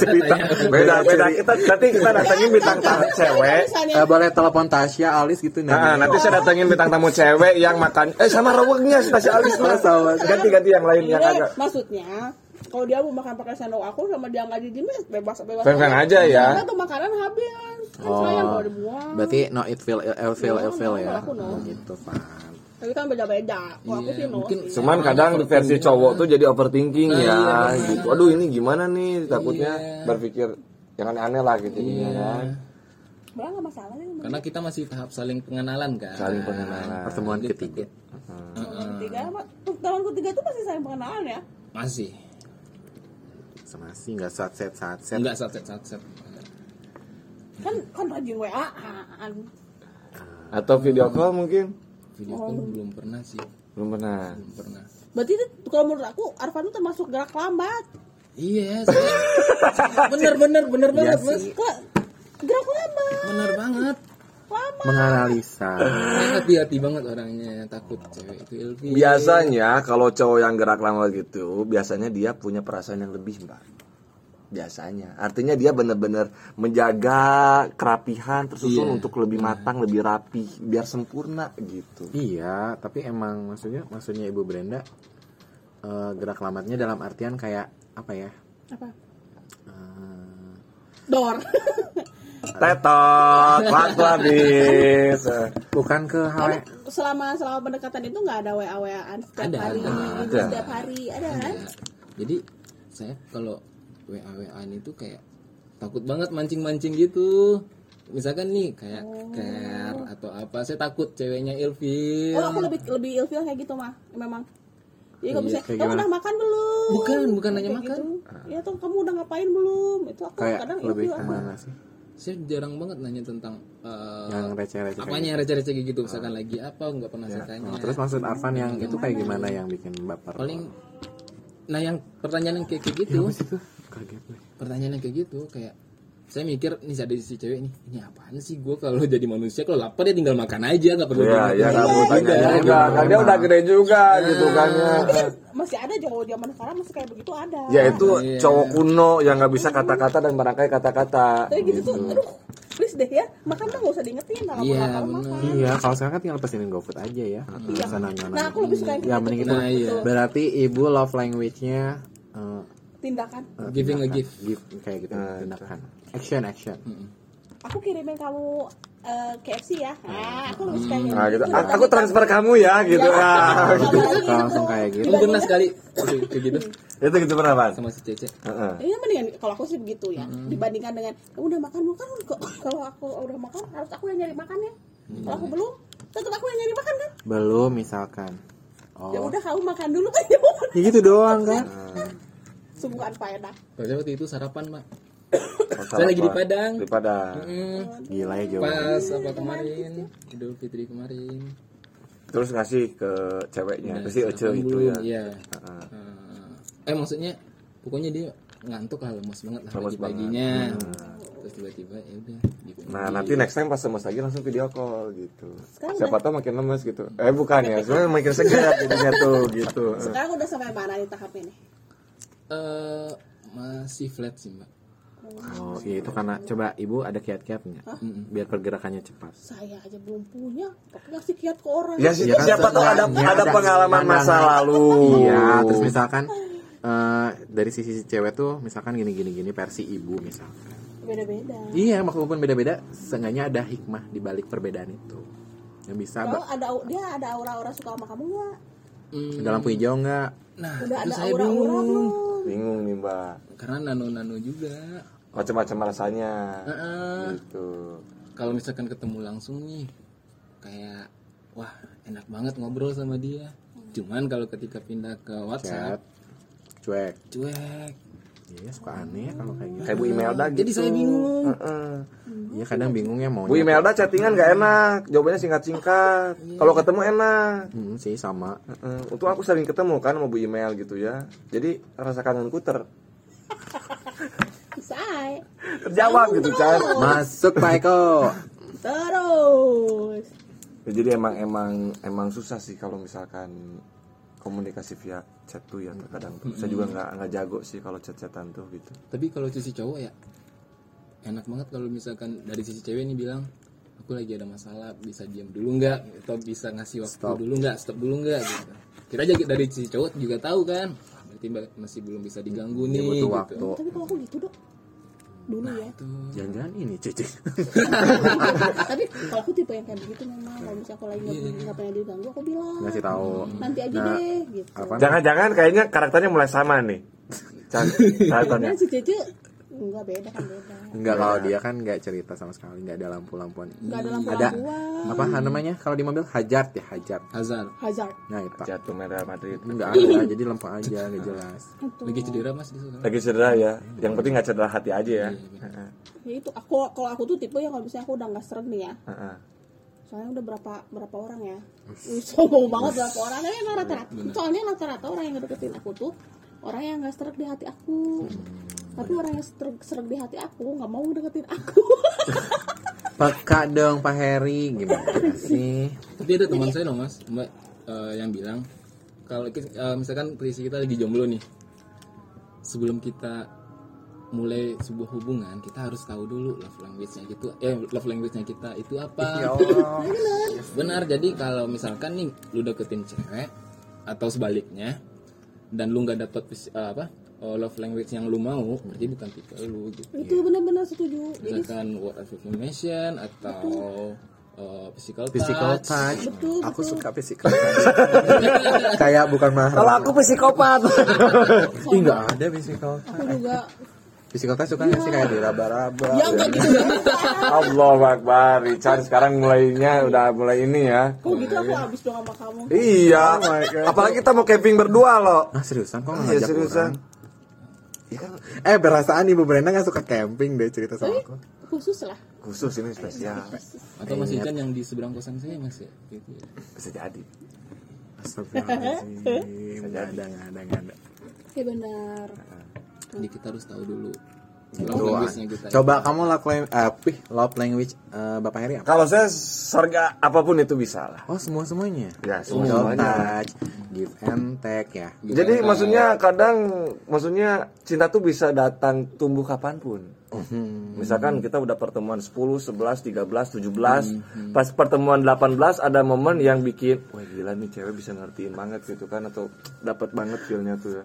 C: Cerita.
A: Beda, Iya. beda. Kita nanti kita datengin bintang tamu cewek.
B: misalnya
C: Eh, boleh telepon Tasya, Alis gitu
A: Nah, nanti saya datengin bintang tamu cewek yang makan eh sama rawangnya si Alis Mas. Ganti-ganti yang lain yang
B: Iya,
A: agak
B: maksudnya kalau dia mau makan pakai sendok aku sama dia nggak dijimat bebas bebas
A: Fan-fan aja ya.
B: karena tuh makanan habis kan sayang
C: Oh,
B: kalau dibuang
C: berarti no it feel it feel
B: No,
C: it feel
B: no,
C: ya.
B: aku no.
C: Oh, gitu paham.
B: tapi kan beda beda kalau aku
D: Iya,
B: sih no
D: mungkin
B: sih.
A: Cuman kadang di versi cowok tuh jadi overthinking
D: Nah,
A: ya
D: iya,
A: gitu. Aduh ini gimana nih takutnya
D: Iya.
A: berpikir yang aneh-aneh lah gitu ya kan.
B: malah nggak masalah sih
D: Karena kita masih tahap saling pengenalan kan
A: Saling pengenalan.
C: Pertemuan ketiga.
B: tahun ketiga Mak. tahun ketiga itu masih sayang pengenalan ya
D: Masih
C: Sama sih nggak saat set saat set.
D: Enggak satset satset
B: kan kan rajin waan
A: Atau video call mungkin
D: Video call belum pernah sih
A: belum pernah.
D: Belum pernah
B: berarti itu kalau menurut aku Arfan itu termasuk gerak lambat
D: Iya saya-
C: Iya
D: Iya bener bener bener banget mas
B: Ke- gerak lambat
D: Bener banget
C: menganalisa
D: hati-hati banget orangnya takut cewek itu ilfil
A: Biasanya kalau cowok yang gerak lama gitu, biasanya dia punya perasaan yang lebih, Mbak. Biasanya. Artinya dia benar-benar menjaga kerapihan tersusun
D: Iya.
A: untuk lebih matang, lebih rapi, biar sempurna gitu.
C: iya tapi emang maksudnya maksudnya ibu Brenda eh, gerak lamatnya dalam artian kayak apa ya
B: apa
C: Eh,
B: dor
A: Tetot, laklabis.
C: bukan ke hal
B: karena selama selama pendekatan itu nggak ada wa waan setiap
D: Ada,
B: hari
D: ada,
B: Ini
A: ada.
B: setiap hari ada kan
D: Nah, jadi saya kalau wa wa itu kayak takut banget mancing mancing gitu misalkan nih kayak
B: Oh.
D: care atau apa saya takut ceweknya ilfil
B: oh aku lebih lebih ilfil kayak gitu mah memang jadi kalau
D: Iya,
B: misalnya
C: kayak
B: kamu
C: gimana?
B: udah makan belum
D: Bukan, bukan
B: Kayak
D: nanya makan.
B: gitu. ya tuh kamu udah ngapain belum itu aku
C: kayak
B: kadang
C: lebih
B: ilfil
C: kemana sih
D: saya jarang banget nanya tentang eh,
C: yang receh-receh kayak Ah.
D: apanya receh-receh kayak gitu misalkan lagi apa nggak pernah saya tanya
C: Oh, terus maksud Arfan yang itu kayak gimana yang bikin baper?
D: paling nah yang pertanyaan yang kayak kayak gitu
C: Apa sih tuh? Kaget gue.
D: pertanyaan yang kayak gitu kayak saya mikir nih ada si cewek nih ini apaan sih gue kalau jadi manusia kalau lapar ya tinggal makan aja nggak
A: Iya,
D: perlu dimakan.
A: ya nggak perlu tanya
D: Iya,
A: juga. Kan dia udah gede juga gitu kan ya.
B: tapi kan masih ada cowok zaman sekarang masih kayak begitu ada
A: Ya itu
D: Iya.
A: cowok kuno yang nggak bisa kata-kata dan merangkai kata-kata.
B: tapi gitu tuh aduh please deh ya makan mah nggak usah diingetin kalau
D: Iya,
B: lapar
D: bener.
B: makan
C: Iya, kalau sekarang kan tinggal pesenin GoFood aja
A: Iya.
C: ya. Pesan nanya-nanya.
B: Nah, aku lebih suka yang
C: Ya,
B: gitu.
C: mending itu.
D: Nah, iya.
C: Berarti ibu love language-nya eh,
B: tindakan
C: eh,
D: Giving a
C: tindakan.
D: gift.
C: Give, kayak gitu,
A: Nah,
C: tindakan. Action, action.
B: aku kirimin kamu eh, KFC ya ah aku lebih suka yang
A: Nah, gitu.
B: gitu.
A: A- Aku transfer kamu ya gitu. Ah,
B: Apalagi gitu.
C: Langsung kayak gitu.
D: Kamu Oh, pernah sekali kayak- kayak gitu
A: itu gitu pernah, Pak.
D: sama si cece
A: Heeh.
B: Iya mendingan kalau aku sih begitu ya
C: Hmm.
B: dibandingkan dengan kamu udah makan belum kan kok- kalau aku udah makan harus aku yang nyari makan ya
C: Hmm.
B: kalau aku belum tetap aku yang nyari makan kan
C: Belum misalkan.
B: ya
C: Oh.
B: udah kamu makan dulu kan ya udah.
C: Ya gitu doang kan?
A: Nah.
B: sungguh anfaedah
D: Kalau saya waktu itu sarapan mak Saya lagi di Padang.
A: Di Padang.
D: Mm,
C: Gila ya jawabannya.
D: pas apa kemarin idul fitri kemarin
A: Terus ngasih ke ceweknya, ke si
D: Nah,
A: Ece
D: sarapan
A: itu
D: belum,
A: ya.
D: iya.
A: Heeh.
D: Eh, eh maksudnya pokoknya dia ngantuk lah lemas banget lah
A: Lemes Hmm.
D: pagi paginya terus tiba-tiba ya udah dipanggil.
A: Nah, nanti next time pas lemes lagi langsung video call gitu.
B: Sekarang
A: Siapa tahu makin lemes gitu. Eh, bukan ya. Sebenarnya makin segar jadinya tuh gitu.
B: sekarang udah sampai mana nih tahapnya nih
D: Eh, masih flat sih mbak
C: Oh, iya itu karena coba ibu ada kiat-kiatnya biar pergerakannya cepat.
B: saya aja belum punya pakai ngasih kiat ke orang
A: Ya, sih,
C: Ya kan,
A: siapa tahu ada
C: ya,
A: ada
C: ada
A: pengalaman masa
C: pandangan.
A: lalu.
C: Iya, terus misalkan eh, dari sisi cewek tuh misalkan gini gini gini versi ibu misalkan.
B: beda beda
C: Iya, meskipun beda-beda, seenggaknya ada hikmah di balik perbedaan itu. Yang bisa
B: kalau
C: ba-
B: ada au- dia ada aura-aura suka sama kamu nggak
D: Hmm,
C: ada lampu hijau nggak?
D: nah
B: udah
D: itu
B: ada
D: saya
B: aura-aura
D: bingung
B: belum
A: Bingung nih, Mbak.
D: karena nano nano juga
A: Macam-macam rasanya.
D: Heeh.
A: Gitu.
D: kalau misalkan ketemu langsung nih kayak wah enak banget ngobrol sama dia cuman kalau ketika pindah ke
C: Chat,
D: WhatsApp
C: cuek.
D: cuek
C: Iya, suka aneh kalau kayak gitu.
A: Kayak Bu Imelda gitu.
D: jadi saya bingung
A: Heeh.
C: Iya, kadang bingung ya mau.
A: Bu Imelda chattingan gak enak, jawabannya singkat-singkat.
D: Iya.
A: Kalau ketemu enak.
C: Hmm, sih sama.
A: Heeh. Untuk aku sering ketemu kan sama Bu Imel gitu ya. Jadi rasa kangenku ter
B: selesai
A: terjawab gitu, Char.
C: Masuk Pak Eko.
B: terus
A: Ya, jadi emang emang emang susah sih kalau misalkan komunikasi via chat tuh ya terkadang. tuh. Saya juga nggak nggak jago sih kalau chat-chatan tuh gitu.
D: tapi kalau sisi cowok ya enak banget kalau misalkan dari sisi cewek nih bilang aku lagi ada masalah bisa diam dulu nggak atau bisa ngasih waktu
C: Stop.
D: dulu nggak stop dulu nggak gitu kita aja dari sisi cowok juga tahu kan "Wah, berarti mbak masih belum bisa
C: Ini
D: diganggu nih
C: butuh
D: gitu.
C: waktu.
B: tapi kalau aku gitu dok dulu
C: Nah,
B: ya Ah,
D: Tuh.
C: Jangan-jangan ini cuci.
B: tapi kalau aku tipe yang kayak begitu memang kalau misalnya aku lagi nggak nggak pengen diganggu aku bilang
C: Iya, Ngasih tahu.
B: nanti aja
C: Nah,
B: deh gitu
C: apa?
A: Jangan-jangan kayaknya karakternya mulai sama nih. Char,
B: karena
A: Karakternya.
B: si Cece enggak beda kan beda
C: Enggak kalau
A: Iya.
C: dia kan enggak cerita sama sekali, enggak ada lampu-lampuan.
B: enggak ada lampu
C: Hmm, Ada
B: lampuan
C: apa namanya? Kalau di mobil hajat ya, hajat.
D: Hazard
B: hazard
C: Nah, itu.
A: Jatuh Real Madrid.
C: Enggak ada, jadi lampu aja enggak jelas.
D: lagi cedera mas di sana
A: Lagi cedera ya. Yang penting nggak cedera hati aja ya. Heeh.
B: ya itu aku kalau aku tuh tipe yang kalau misalnya aku udah nggak sering nih ya
A: Heeh.
B: soalnya udah berapa berapa orang ya Ih, sombong banget berapa orang ya emang rata-rata soalnya rata-rata orang yang ngedeketin aku tuh orang yang nggak seret di hati aku tapi orang yang seret, seret di hati aku nggak mau ngedeketin aku
C: Peka dong Pak Heri gimana sih?
D: Tapi ada teman saya loh mas, mbak eh, yang bilang kalau ki- eh, misalkan kondisi kita lagi jomblo nih, sebelum kita mulai sebuah hubungan kita harus tahu dulu love language-nya gitu, eh love language-nya kita itu apa?
C: ya
D: Benar. Jadi kalau misalkan nih lu deketin cewek atau sebaliknya dan lu nggak dapet fis- eh, apa eh, love language yang lu mau, berarti bukan tipe lu gitu
B: itu benar-benar setuju jadi
D: misalkan word of affirmation atau uh, physical,
C: Physical
D: touch.
C: touch.
B: betul
E: Aku
B: betul
E: suka physical.
C: Kayak bukan mahal.
A: Kalau aku psikopat.
C: Ih enggak ada physical touch.
B: aku juga
C: Physical touch suka nggak sih kayak diraba-raba.
B: ya enggak gitu enggak gitu.
A: Allah Akbar, Richard sekarang mulainya udah mulai ini ya.
B: kalau gitu aku habis dong sama kamu
A: Iya. Apalagi kita mau camping berdua loh.
C: Nah seriusan kok nggak
A: Iya
C: Oh ngajak
A: seriusan.
C: orang? Eh perasaan ibu Brenda nggak suka camping deh cerita sama aku.
B: khusus lah
A: Khusus ini spesial.
D: atau Mas
C: Iya.
D: Ican yang di seberang kosan saya Mas ya gitu.
A: Bisa jadi.
C: Astagfirullahaladzim. Nggak ada nggak ada nggak ada.
B: ya benar
D: Jadi kita harus tahu dulu
C: Gitu,
D: love
C: ah.
D: language-nya kita.
C: Coba kamu love language, love language eh, Bapak Heri apa?
A: Kalau saya sorga apapun itu bisa lah.
C: Oh semua semuanya.
A: Ya,
C: Physical
A: semuanya.
C: touch, give and take ya.
D: Gitu.
A: Jadi
D: Nah,
A: maksudnya kadang maksudnya cinta tuh bisa datang tumbuh kapanpun. Misalkan kita udah pertemuan 10, 11, 13, 17, pas pertemuan 18 ada momen yang bikin wah gila nih cewek bisa ngertiin banget gitu kan atau dapat banget feelnya tuh ya.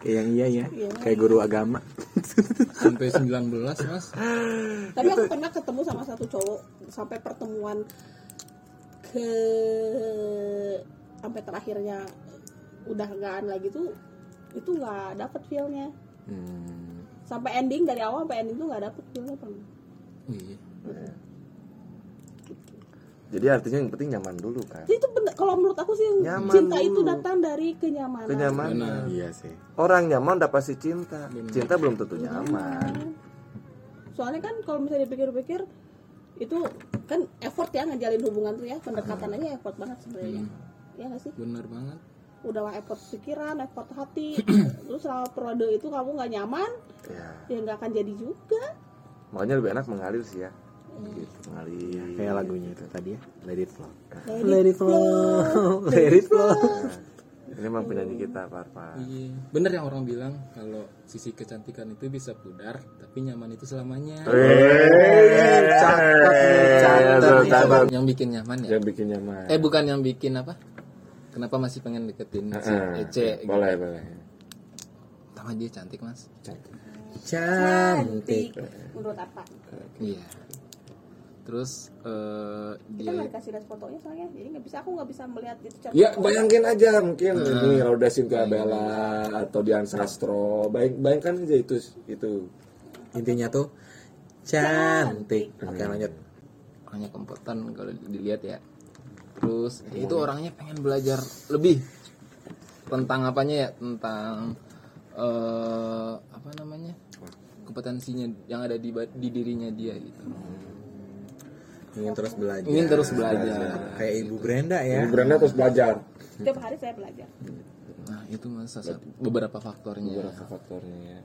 C: Kayak yang iya ya, kayak guru agama.
D: sampai 19 Mas.
B: tapi aku pernah ketemu sama satu cowok sampai pertemuan ke sampai terakhirnya udah enggakan lagi tuh itu nggak dapet feelnya
C: Hmm.
B: sampai ending dari awal sampai ending tuh nggak dapet feelnya pernah
D: Oh, iya.
A: Jadi artinya yang penting nyaman dulu kan.
B: jadi itu bener- kalau menurut aku sih
A: Nyaman
B: cinta
A: dulu.
B: itu datang dari kenyamanan
D: Benar.
A: Kenyamanan.
C: Iya sih.
A: Orang nyaman udah pasti cinta.
D: Benar.
A: Cinta belum tentu nyaman.
B: soalnya kan kalau misalnya dipikir-pikir itu kan effort ya ngejalin hubungan tuh ya pendekatan aja effort banget sebenarnya
A: Hmm.
B: ya nggak sih
D: Benar banget.
B: udah mah effort pikiran effort hati terus selama periode itu kamu nggak nyaman
A: Ya,
B: ya nggak akan jadi juga
A: makanya lebih enak mengalir sih ya. Gitu, mengalir.
C: Kayak lagunya itu tadi ya, Let It Flow.
B: Let it flow.
C: Let It Flow.
A: Ini memang penyanyi kita, Parpa.
D: Iya. Benar yang orang bilang kalau sisi kecantikan itu bisa pudar, tapi nyaman itu selamanya.
C: Oh, iya,
D: Iya,
C: Eh, cakep nih, Eh, cakep
A: Tuh,
C: nih.
A: cakep.
D: kan? Yang bikin nyaman ya.
C: Iya.
A: Yang bikin nyaman.
D: Eh bukan yang bikin apa? Kenapa masih pengen deketin si
A: Eh,
D: Ece? gitu.
A: boleh, boleh.
D: Pertama dia cantik, Mas.
A: Cakep.
B: cantik menurut apa
D: Iya. Terus eh
B: kita
D: dia
B: nggak dikasih lihat fotonya soalnya jadi nggak bisa aku nggak bisa melihat itu cantik
A: Ya bayangin aja mungkin ini Rauda Cynthia Bella atau Dian Sastro. Bayang, bayangkan aja itu itu.
C: Intinya tuh cantik. Oke lanjut.
D: orangnya kempetan kalau dilihat ya terus ya itu orangnya pengen belajar lebih tentang apanya ya tentang eh apa namanya kompetensinya yang ada di ba- di dirinya dia gitu
C: Ingin terus belajar.
D: ingin
A: Iya,
D: terus belajar
C: Kayak Ibu Brenda ya.
A: Brenda terus belajar.
B: tiap hari saya belajar
D: nah itu mas salah satu- beberapa faktornya
A: Beberapa faktornya ya.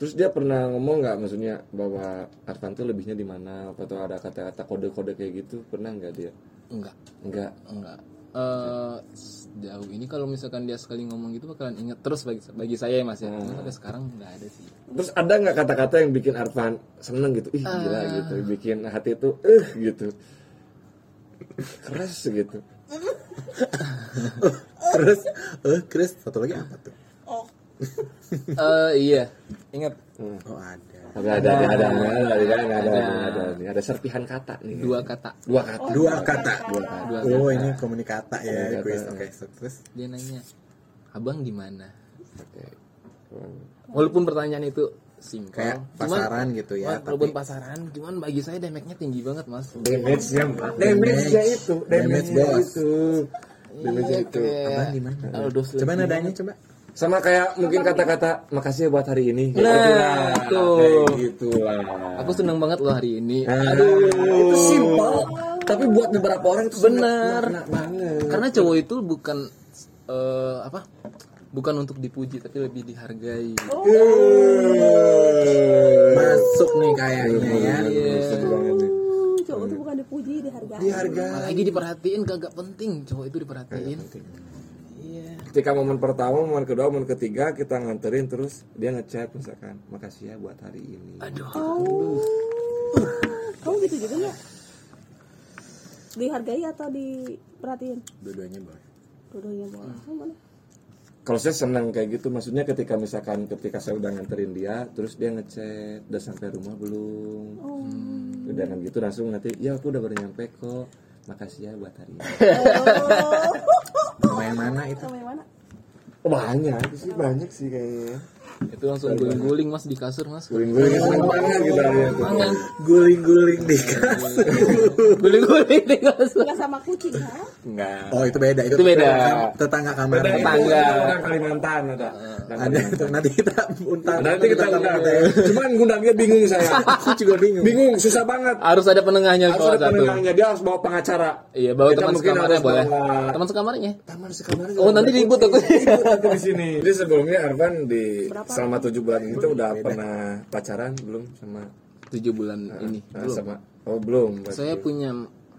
A: Terus dia pernah ngomong nggak maksudnya bahwa Artanto lebihnya di mana apa tuh ada kata-kata kode-kode kayak gitu pernah nggak dia?
D: enggak
A: Enggak.
D: enggak eh sejauh ini kalau misalkan dia sekali ngomong gitu bakalan inget terus bagi bagi saya ya mas
A: Hmm.
D: ya Cuma sampai sekarang nggak ada sih
A: Terus ada nggak kata-kata yang bikin Arfan seneng gitu? Ih gila gitu, bikin hati itu eh gitu. Keras gitu.
C: Terus eh Chris satu lagi apa tuh?
B: oh
D: Eh iya ingat
C: Oh ada.
A: Ada ada ada ada ada ada ada ada ada ada ada ada serpihan kata nih.
D: dua kata
A: dua kata.
C: Oh, Dua kata.
B: Dua
D: dua
C: Oh ini komunikata
A: Komunikata.
C: ya quiz. Oke terus.
D: dia nanya abang di mana
A: Oke.
D: walaupun pertanyaan itu singkat
C: Kayak pasaran gitu ya,
D: walaupun
C: tapi-
D: pasaran cuman bagi saya damage-nya tinggi banget mas
A: Nah, Damage-nya, damage-nya itu, damage-nya
C: Damage, bos.
A: itu. Damage-nya itu.
D: abang di mana
C: Coba nadanya coba.
A: Sama kayak mungkin kata-kata makasih ya buat hari ini.
D: Nah,
A: itu.
D: itu.
A: Gitu lah.
D: aku seneng banget loh hari ini
A: Aduh, itu simpel.
D: tapi buat beberapa orang itu benar
A: Enak banget.
D: karena cowok itu bukan eh, apa bukan untuk dipuji tapi lebih dihargai
C: Masuk nih kayaknya ya.
A: Setuju Iya. banget nih.
B: Uh, cowok itu bukan dipuji dihargai
C: Harga.
D: apalagi diperhatiin kagak penting cowok itu diperhatiin iya
A: Gitu. Ketika momen pertama, momen kedua, momen ketiga kita nganterin terus dia ngechat misalkan, makasih ya buat hari ini.
D: Iya.
B: oh kamu gitu juga nggak dihargai ya atau diperhatiin
C: Dua-duanya boleh.
B: dua-duanya boleh Kamu mana?
A: Kalau saya senang kayak gitu, maksudnya ketika misalkan ketika saya udah nganterin dia, terus dia ngechat, udah sampai rumah belum?
B: Oh,
A: Udah kan gitu langsung nanti, ya aku udah baru nyampe kok. Makasih ya buat hari ini.
C: Sama yang mana itu?
B: sama yang mana
A: banyak sih, banyak sih kayaknya.
D: itu langsung guling-guling mas di kasur mas
A: Guling-guling seneng banget kita lihat.
C: Guling-guling di kasur.
D: guling-guling di kasur
B: nggak sama kucing kan
A: Enggak.
C: Oh itu beda. Itu,
D: Itu beda.
C: Tetangga kamar.
A: ya,
D: Tetangga.
A: Orang Kalimantan ada.
C: Ada itu nanti kita untang.
A: Nanti kita undang. Cuman gundangnya bingung saya.
C: Aku juga bingung.
A: bingung susah banget
D: harus ada
A: harus
D: penengahnya kalau
A: ada
D: satu
A: penenangnya dia harus bawa pengacara
D: iya bawa
A: Kita
D: teman
A: mungkin
D: sekamarnya
A: harus
D: boleh
A: bawa-
D: teman sekamarnya
A: taman sekarang
D: oh nanti ribut aku
A: di sini jadi sebelumnya Arvan di selama tujuh bulan itu udah pernah pacaran belum sama
D: tujuh bulan ini
A: eh,
D: belum
A: sama oh belum berarti.
D: saya punya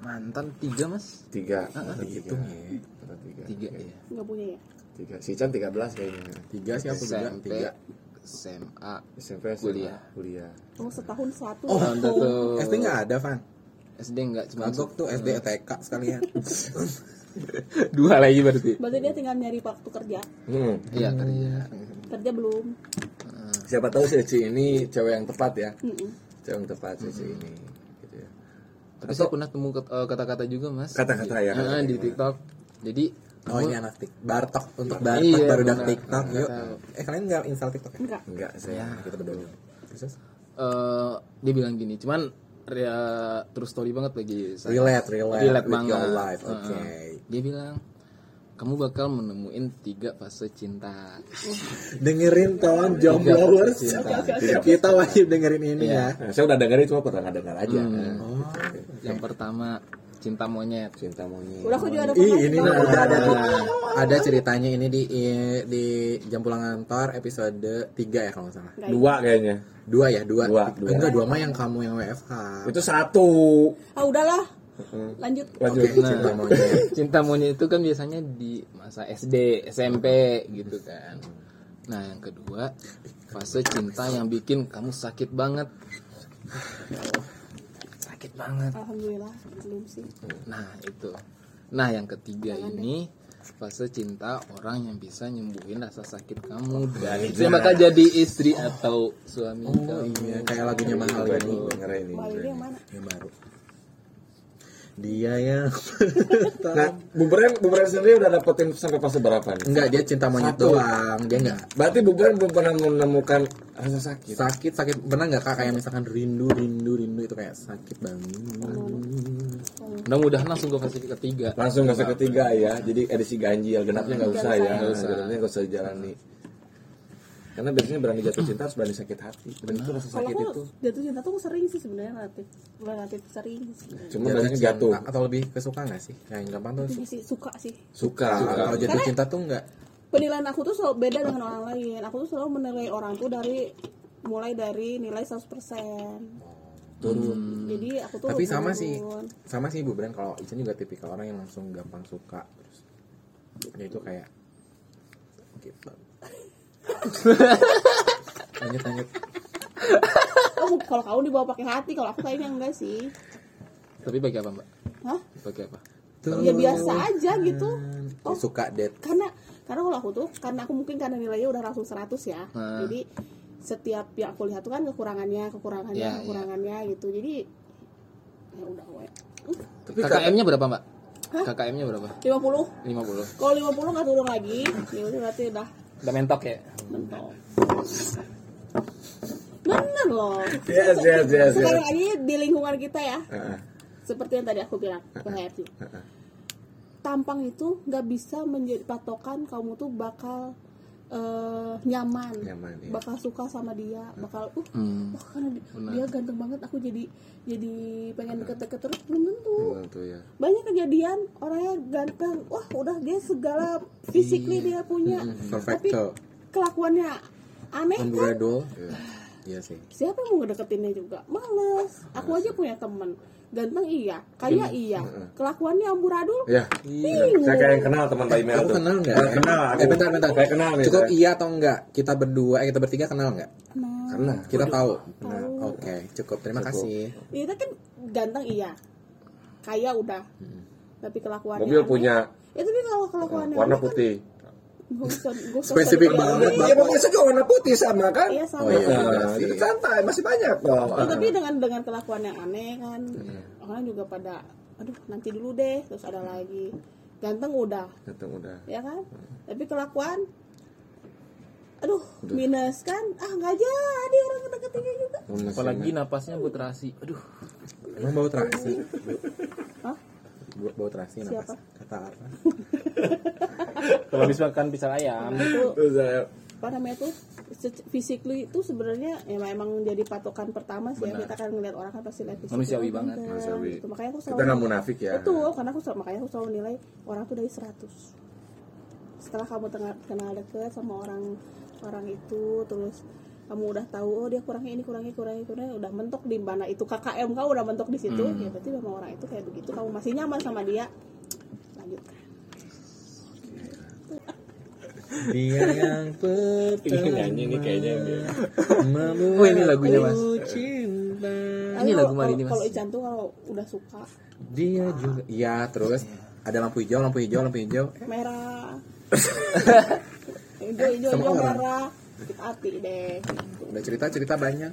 D: mantan tiga mas
A: tiga itu tiga
D: tiga ya
B: nggak punya ya
A: tiga si Chan tiga belas kayaknya
C: Tiga sih aku bilang
D: SMP
C: tiga.
D: SMA
A: SMP SMA,
D: Kuliah.
A: kuliah
B: kamu setahun satu
C: Oh,
D: Tante tuh.
C: SD nggak ada, Van.
D: SD enggak cuma
C: Masuk tuh SD TK sekalian.
D: dua lagi berarti
B: berarti dia tinggal nyari waktu kerja
A: Hmm.
D: iya kerja
B: kerja belum
A: siapa tahu si Ci ini cewek yang tepat ya
B: Mm-mm.
A: cewek yang tepat si Ci ini gitu ya
D: tapi saya pernah temu ket- eh, kata-kata juga mas
A: Kata-kata ya,
D: Di-
A: kata-kata iya.
D: eh, di
A: gimana?
D: TikTok jadi
C: Oh ini anak tik Bartok untuk Bartok
D: Iya,
C: baru dak
D: benar.
C: TikTok
D: Nggak
C: yuk.
D: tahu.
C: Eh kalian nggak install TikTok ya?
B: enggak
A: enggak saya kita berdua
C: Terus?
D: eh, dia bilang gini cuman ya terus story banget lagi
A: Oh,
D: saya.
C: Relate, relate,
D: Relate
C: with your
D: banget.
C: life.
D: Heeh.
C: Oke.
D: dia bilang kamu bakal menemuin tiga fase cinta
C: Dengerin tolong jomblowers. Kita wajib dengerin ini
D: Iya.
C: ya.
A: Nah, saya udah dengerin cuma pernah nggak denger aja Nah,
D: yang pertama cinta monyet
A: cinta monyet
B: udah aku juga ada
C: Ih, ini
B: pernah.
C: nah, udah ada tuh.
D: Iya.
C: Ada ceritanya ini di i- di jam pulang kantor episode 3 ya kalau nggak salah.
A: dua kayaknya
C: Dua ya, dua.
A: Dua, dua.
C: Enggak, dua mah yang kamu yang WFH.
A: itu satu
B: ah udahlah lanjut
A: lanjut
C: Oke, cinta monyet.
D: cinta monyet itu kan biasanya di masa SD SMP gitu kan nah yang kedua fase cinta yang bikin kamu sakit banget sakit banget
B: alhamdulillah belum sih
C: Iya,
D: nah itu nah yang ketiga ini fase cinta orang yang bisa nyembuhin rasa sakit kamu dan itu yang bakal jadi istri atau suami
C: Oh
D: kamu
C: iya, kayak lagunya mahal
A: Coba
C: ini.
A: ini denger ini
B: Malu
C: iya.
B: dia yang mana
C: Yang baru. Dia yang
A: nah bubren bubren sendiri udah dapetin sampai fase berapa nih
C: enggak dia cinta monyet
A: Satu.
C: doang. Dia enggak
A: berarti bubren belum pernah menemukan rasa sakit
C: sakit sakit pernah nggak kak kayak misalkan rindu rindu rindu itu kayak sakit banget
D: mudah-mudahan langsung ke fase ketiga
A: langsung fase ketiga ya jadi edisi ganjil genapnya nggak usah ya
D: usah.
A: genapnya nggak usah dijalani karena biasanya berani jatuh cinta harus berani sakit hati dan itu rasa
B: kalau
A: sakit
B: aku
A: itu
B: jatuh cinta tuh sering sih sebenarnya relatif relatif sering sih
A: cuma
C: Jatuh
A: biasanya
C: cinta
A: jatuh
C: atau lebih ke suka nggak sih kayak yang gampang tuh
B: Itu
C: suka
B: sih suka sih
A: suka
C: kalau jatuh
B: Karena-
C: cinta tuh nggak
B: penilaian aku tuh selalu beda dengan orang lain aku tuh selalu menilai orang tuh dari mulai dari nilai 100%
A: turun
B: jadi aku tuh
C: tapi sama sih
B: turun.
C: sama sih Bu Bran kalau Ican juga tipikal orang yang langsung gampang suka terus dia itu kayak gitu lanjut lanjut
B: oh, kalau kamu dibawa pakai hati kalau aku kayaknya enggak sih
D: tapi bagi apa mbak
B: Hah?
D: bagi apa
C: tuh
B: ya biasa aja gitu Oh,
C: suka date
B: karena karena kalau aku tuh karena aku mungkin karena nilainya udah langsung 100 ya
D: Hmm.
B: jadi setiap yang aku lihat tuh kan kekurangannya kekurangannya
D: Ya, ya.
B: kekurangannya gitu jadi ya udah we.
D: KKM-nya berapa mbak KKM-nya berapa
B: 50
D: 50
B: kalau 50 nggak turun lagi ya udah berarti udah
D: Udah mentok ya?
B: mentok bener loh
A: Yes, yes, yes,
B: sekarang ini di lingkungan kita ya
A: Heeh.
B: seperti yang tadi aku bilang bahaya sih tampang itu nggak bisa menjadi patokan kamu tuh bakal eh, nyaman,
C: Nyaman, iya.
B: bakal suka sama dia, bakal uh,
D: Hmm.
B: wah, karena di- dia ganteng banget, aku jadi jadi pengen deket-deket terus belum tentu.
C: Belum tuh ya.
B: Banyak kejadian orangnya ganteng, wah udah dia
A: Iya.
B: segala fisiknya dia punya, tapi
C: Perfecto.
B: kelakuannya aneh kan?
C: Ungradual. Iya. Iya sih.
B: siapa yang mau ngedeketinnya juga males aku aja punya temen ganteng iya kaya iya kelakuannya amburadul
C: Ya.
B: bingung
A: Iya, Saya kayak yang kenal teman Pak Imel
C: Aku
A: tuh.
C: kenal nggak?
A: Nggak kenal.
C: Eh, bentar, bentar.
A: Saya kenal nih.
C: Cukup
A: saya.
C: iya atau enggak? Kita berdua, eh kita bertiga kenal nggak?
B: nah
C: Kenal. Kita tahu. Nah, oke. Cukup. Terima kasih.
B: itu kan ganteng iya kaya udah tapi kelakuannya
A: Mobil
B: aneh.
A: punya
B: ya tapi kalau kelakuannya
A: warna
B: aneh kan
A: putih.
B: nggak usah- nggak usah
C: Spesifik
B: sedih.
C: banget.
B: Iya,
F: Iya pokoknya juga warna putih sama kan?
B: iya sama
C: Oh, iya.
F: Nah,
C: Masih.
F: itu santai, masih banyak kok.
B: Ya, tapi dengan dengan kelakuan yang aneh kan orang juga pada aduh nanti dulu deh terus ada lagi ganteng udah
A: Datang udah.
B: ya kan tapi kelakuan aduh minus kan ah nggak jadi orang deketinnya juga
D: Apalagi napasnya buat terasi. Aduh.
C: Emang bau terasi?
B: Hah?
C: Bu- Bau terasi
B: Siapa?
C: kenapa? Kata apa?
D: Kalau habis makan pisang ayam.
B: itu apa namanya tuh se- physically itu sebenarnya emang, emang jadi patokan pertama sih ya kita kan ngeliat orang kan pasti lihat fisik
D: Manusiawi
B: oh,
D: banget.
B: ganteng,
A: Manusiawi.
B: gitu. makanya aku selalu
F: Kita nggak munafik ya.
B: betul karena aku selalu, makanya aku selalu nilai orang tuh dari 100 setelah kamu tengah, kenal deket sama orang orang itu terus kamu udah tahu oh dia kurangnya ini kurangnya kurangnya kurangnya udah mentok di mana itu KKM kau udah mentok di situ ya berarti memang orang itu kayak begitu kamu masih nyaman sama dia lanjutkan
C: Dia yang pertama
D: nyanyi nih kayaknya yang dia.
C: membuat
D: Oh, ini lagunya, Mas.
C: ku cinta.
D: Ini
B: kalau-
D: lagu Marini, Mas.
B: kalau Ican tuh kalau udah suka
C: Dia juga. Iya terus ada lampu hijau, lampu hijau, lampu hijau.
B: merah hijau hijau
C: Sama
B: hijau
C: orang.
B: merah sakit hati deh
C: Udah cerita cerita banyak.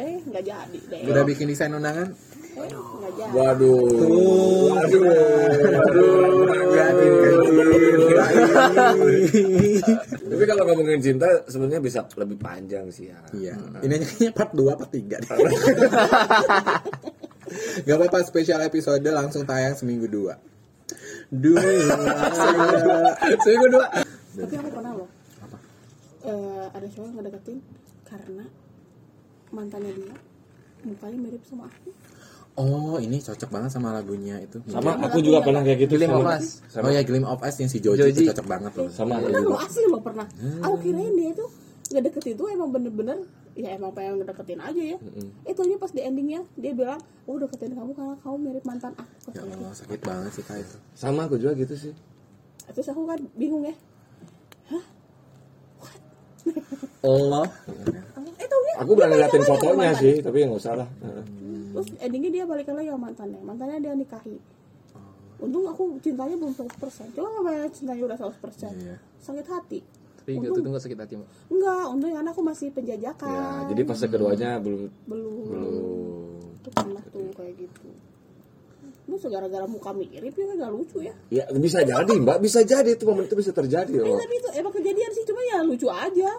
B: eh oh. nggak jadi deh
C: Udah bikin desain undangan.
B: eh nggak jadi
F: Waduh. Waduh.
C: Berani,
A: Tapi kalau ngomongin cinta sebenarnya bisa lebih panjang sih ya.
C: Iya. Ini aja kayaknya part 2 part 3 Gak apa-apa spesial episode langsung tayang seminggu dua. Dua. seminggu dua.
B: tapi aku pernah loh Eh, ada cowok ngedeketin karena mantannya dia mukanya mirip sama aku
C: Oh ini cocok banget sama lagunya itu.
A: Sama aku juga pernah kayak gitu.
D: Glim
A: sama-
D: of Us.
A: Sama
C: Oh ya Gleam of Us yang si Joji,
D: Joji.
C: itu cocok banget loh.
A: sama iya. aku
B: pernah
A: juga.
B: loh asli loh pernah
C: Ah.
B: aku kirain dia tuh ngedeketin tuh emang bener-bener ya emang pengen ngedeketin aja ya itu aja pas di endingnya dia bilang oh deketin kamu karena kamu mirip mantan aku Kata
C: Ya
B: dia.
C: Allah sakit banget sih kak itu.
A: Sama aku juga gitu sih.
B: terus aku kan bingung ya
C: Allah.
B: eh taunya
A: Aku berani
B: dia balikan
A: liatin
B: lagi sama
A: fotonya
B: mantannya.
A: sih, tapi ya nggak usah lah.
B: terus endingnya dia balikan lagi sama mantannya mantannya dia nikahi untung aku cintanya belum 100% coba nggak banyak cintanya udah 100%
C: Iya.
B: sakit hati
D: Tapi enggak tuh enggak sakit hati, Mbak.
B: enggak untung karena aku masih penjajakan
A: Ya, jadi fase keduanya belum
B: belum
A: belum
B: tuh pernah tuh kayak gitu lu gara-gara muka mirip ya nggak lucu ya
A: Ya bisa jadi mbak, bisa jadi itu momen itu bisa terjadi oh,
B: eh,
A: loh.
B: tapi itu emang kejadian sih cuma ya lucu aja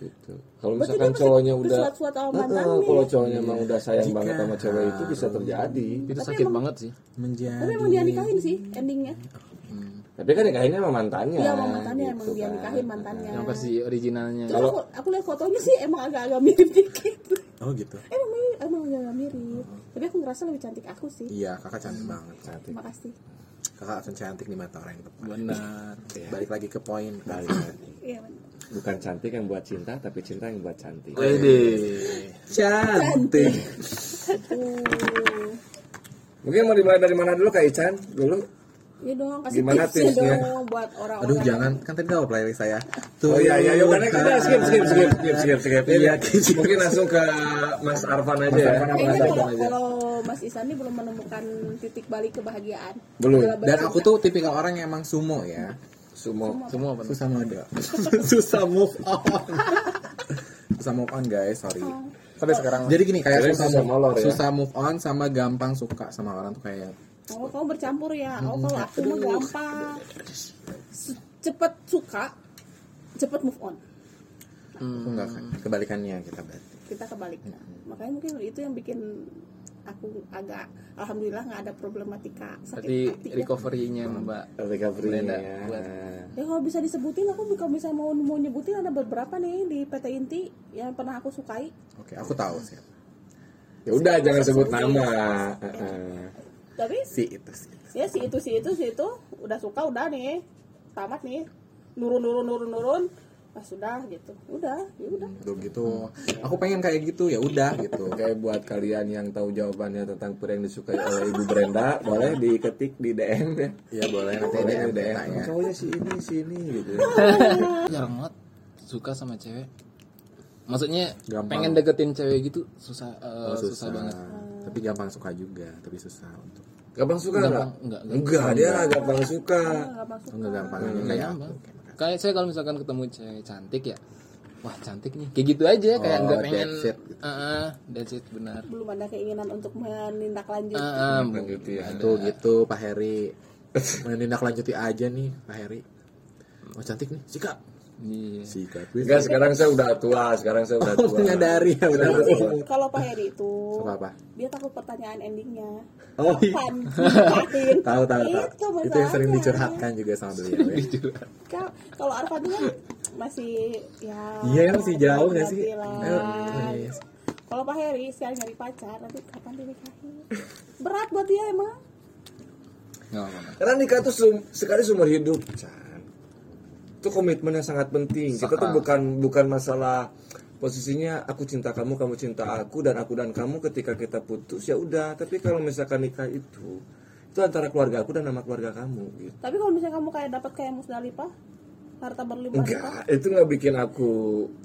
A: Gitu. Kalau misalkan
B: Berarti dia pasti
A: cowoknya udah,
B: bersuat-suat sama
A: Nah,
B: mantannya.
A: nah, kalau cowoknya emang udah sayang
C: Jika
A: banget sama cewek itu bisa terjadi.
D: Itu sakit banget sih.
C: Menjadi.
B: tapi emang dia nikahin sih endingnya
A: Tapi kan nikahinnya sama mantannya.
B: iya sama mantannya
A: gitu
B: emang dia
A: kan.
B: nikahin mantannya
D: Yang versi originalnya.
B: Terus aku, aku lihat fotonya sih emang agak-agak mirip dikit
C: Oh gitu.
B: emang mirip emang agak mirip tapi aku ngerasa lebih cantik aku sih
C: Iya kakak cantik banget. Cantik.
B: makasih
C: Kakak akan cantik di mata orang yang tepat.
D: Benar.
C: Balik lagi ke poin. Balik.
B: iya bener.
A: Bukan cantik yang buat cinta, tapi cinta yang buat cantik.
C: Cantik.
B: Aduh.
A: Mungkin mau dimulai dari mana dulu Kak Ican? Dulu
B: Iya dong, kasih
A: Gimana
B: tipsnya
A: tipsnya?
B: dong buat orang-orang.
C: Aduh jangan kan tadi udah playlist saya. Tuh.
A: Oh iya iya yuk karena kita skip skip skip skip skip skip.
C: Iya,
A: Mungkin langsung ke Mas Arfan aja ya.
B: Kayaknya kalau, kalau Mas Isan ini belum menemukan titik balik kebahagiaan.
A: Belum.
B: Dalam
C: Dan
B: bercinta.
C: aku tuh tipikal orang yang emang sumo ya.
A: Sumo.
D: Semua apa?
C: Susah mode. Susah move on. Susah move on guys, sorry.
D: Sampai sekarang.
C: Jadi gini
A: Jadi
C: kayak susah,
A: susah
C: move,
A: molor ya.
C: susah move on sama gampang suka sama orang tuh kayak
B: Oh, kamu bercampur ya. Oh, kalau aku mah gampang. Se- Cepet suka, cepet move on.
A: Hmm.
C: aku nggak kan kebalikannya kita berarti.
B: Nah, Kita kebalik. Makanya mungkin itu yang bikin aku agak alhamdulillah nggak ada problematika sakit
D: Berarti
B: hati ya.
D: recovery-nya Mbak
C: recovery-nya.
A: Iya,
D: Brenda buat
B: Ya kalau bisa disebutin aku kalau misalnya mau mau nyebutin ada beberapa nih di PT Inti yang pernah aku sukai.
C: Oke, aku tahu siapa.
F: Ya udah jangan sebut nama. Heeh.
B: Tapi
C: Si itu si. itu.
B: ya si itu si itu si itu udah suka udah nih tamat nih nurun nurun nurun nurun pas sudah gitu udah ya udah
C: Udah gitu. Aku pengen kayak gitu, ya udah gitu.
A: Oke buat kalian yang tahu jawabannya tentang pria yang disukai oleh Ibu Brenda boleh diketik di DM ya.
C: Iya boleh nanti
A: Boleh
C: DM
A: di DM.
C: ya.
A: Cowoknya si ini si ini gitu.
D: jarang banget suka sama cewek maksudnya
C: Gampang.
D: pengen deketin cewek gitu susah eh,
C: Oh,
D: susah. banget
C: Tapi gampang suka juga, tapi susah untuk.
A: Gampang suka
D: Gampang,
A: nggak?
D: enggak, enggak.
A: Enggak dia gampang suka.
B: nggak masuk
C: Enggak gampang
D: Nggak
C: kayak
D: gampang.
C: aku.
D: kayak saya kalau misalkan ketemu cewek cantik ya wah cantik nih kayak gitu aja kayak
C: Oh,
D: nggak pengen
C: that's it, gitu.
D: Heeh, that's it, benar
B: belum ada keinginan untuk
C: Iya,
B: menindaklanjuti
C: Ah,
D: Heeh, bu-
C: Itu gitu Pak Heri. Menindaklanjuti aja nih Pak Heri. Oh cantik nih, sikap.
D: iya.
C: Sikap.
A: Enggak sekarang saya udah tua, sekarang saya udah tua.
C: menyadari ya benar.
B: Iya sih, kalau Pak Heri itu
C: Suka apa?
B: dia takut pertanyaan endingnya
C: Oh iya.
B: Pan, Patin.
C: Tahu tahu tahu.
B: itu, ya?
C: Itu yang sering
B: masalahnya.
C: dicurhatkan juga sama beliau. ya.
B: Ka- kalau Arfan kan masih ya
C: Iya, yang masih jauh nggak sih?
B: penampilan.
C: Eh, oh, iya.
B: kalau Pak Heri sekarang nyari pacar nanti kapan dinikahin berat buat dia emang
D: Nggak apa-apa.
A: Karena nikah tuh sum- sekali seumur hidup, Chan. Itu komitmen yang sangat penting. Kita tuh
D: Sakral.
A: bukan bukan masalah posisinya aku cinta kamu, kamu cinta aku dan aku dan kamu ketika kita putus ya udah. Tapi kalau misalkan nikah itu itu antara keluarga aku dan nama keluarga kamu gitu.
B: tapi kalau misalnya kamu kayak dapat kayak Musdalifah harta berlimpah rupiah,
A: Enggak, itu nggak bikin aku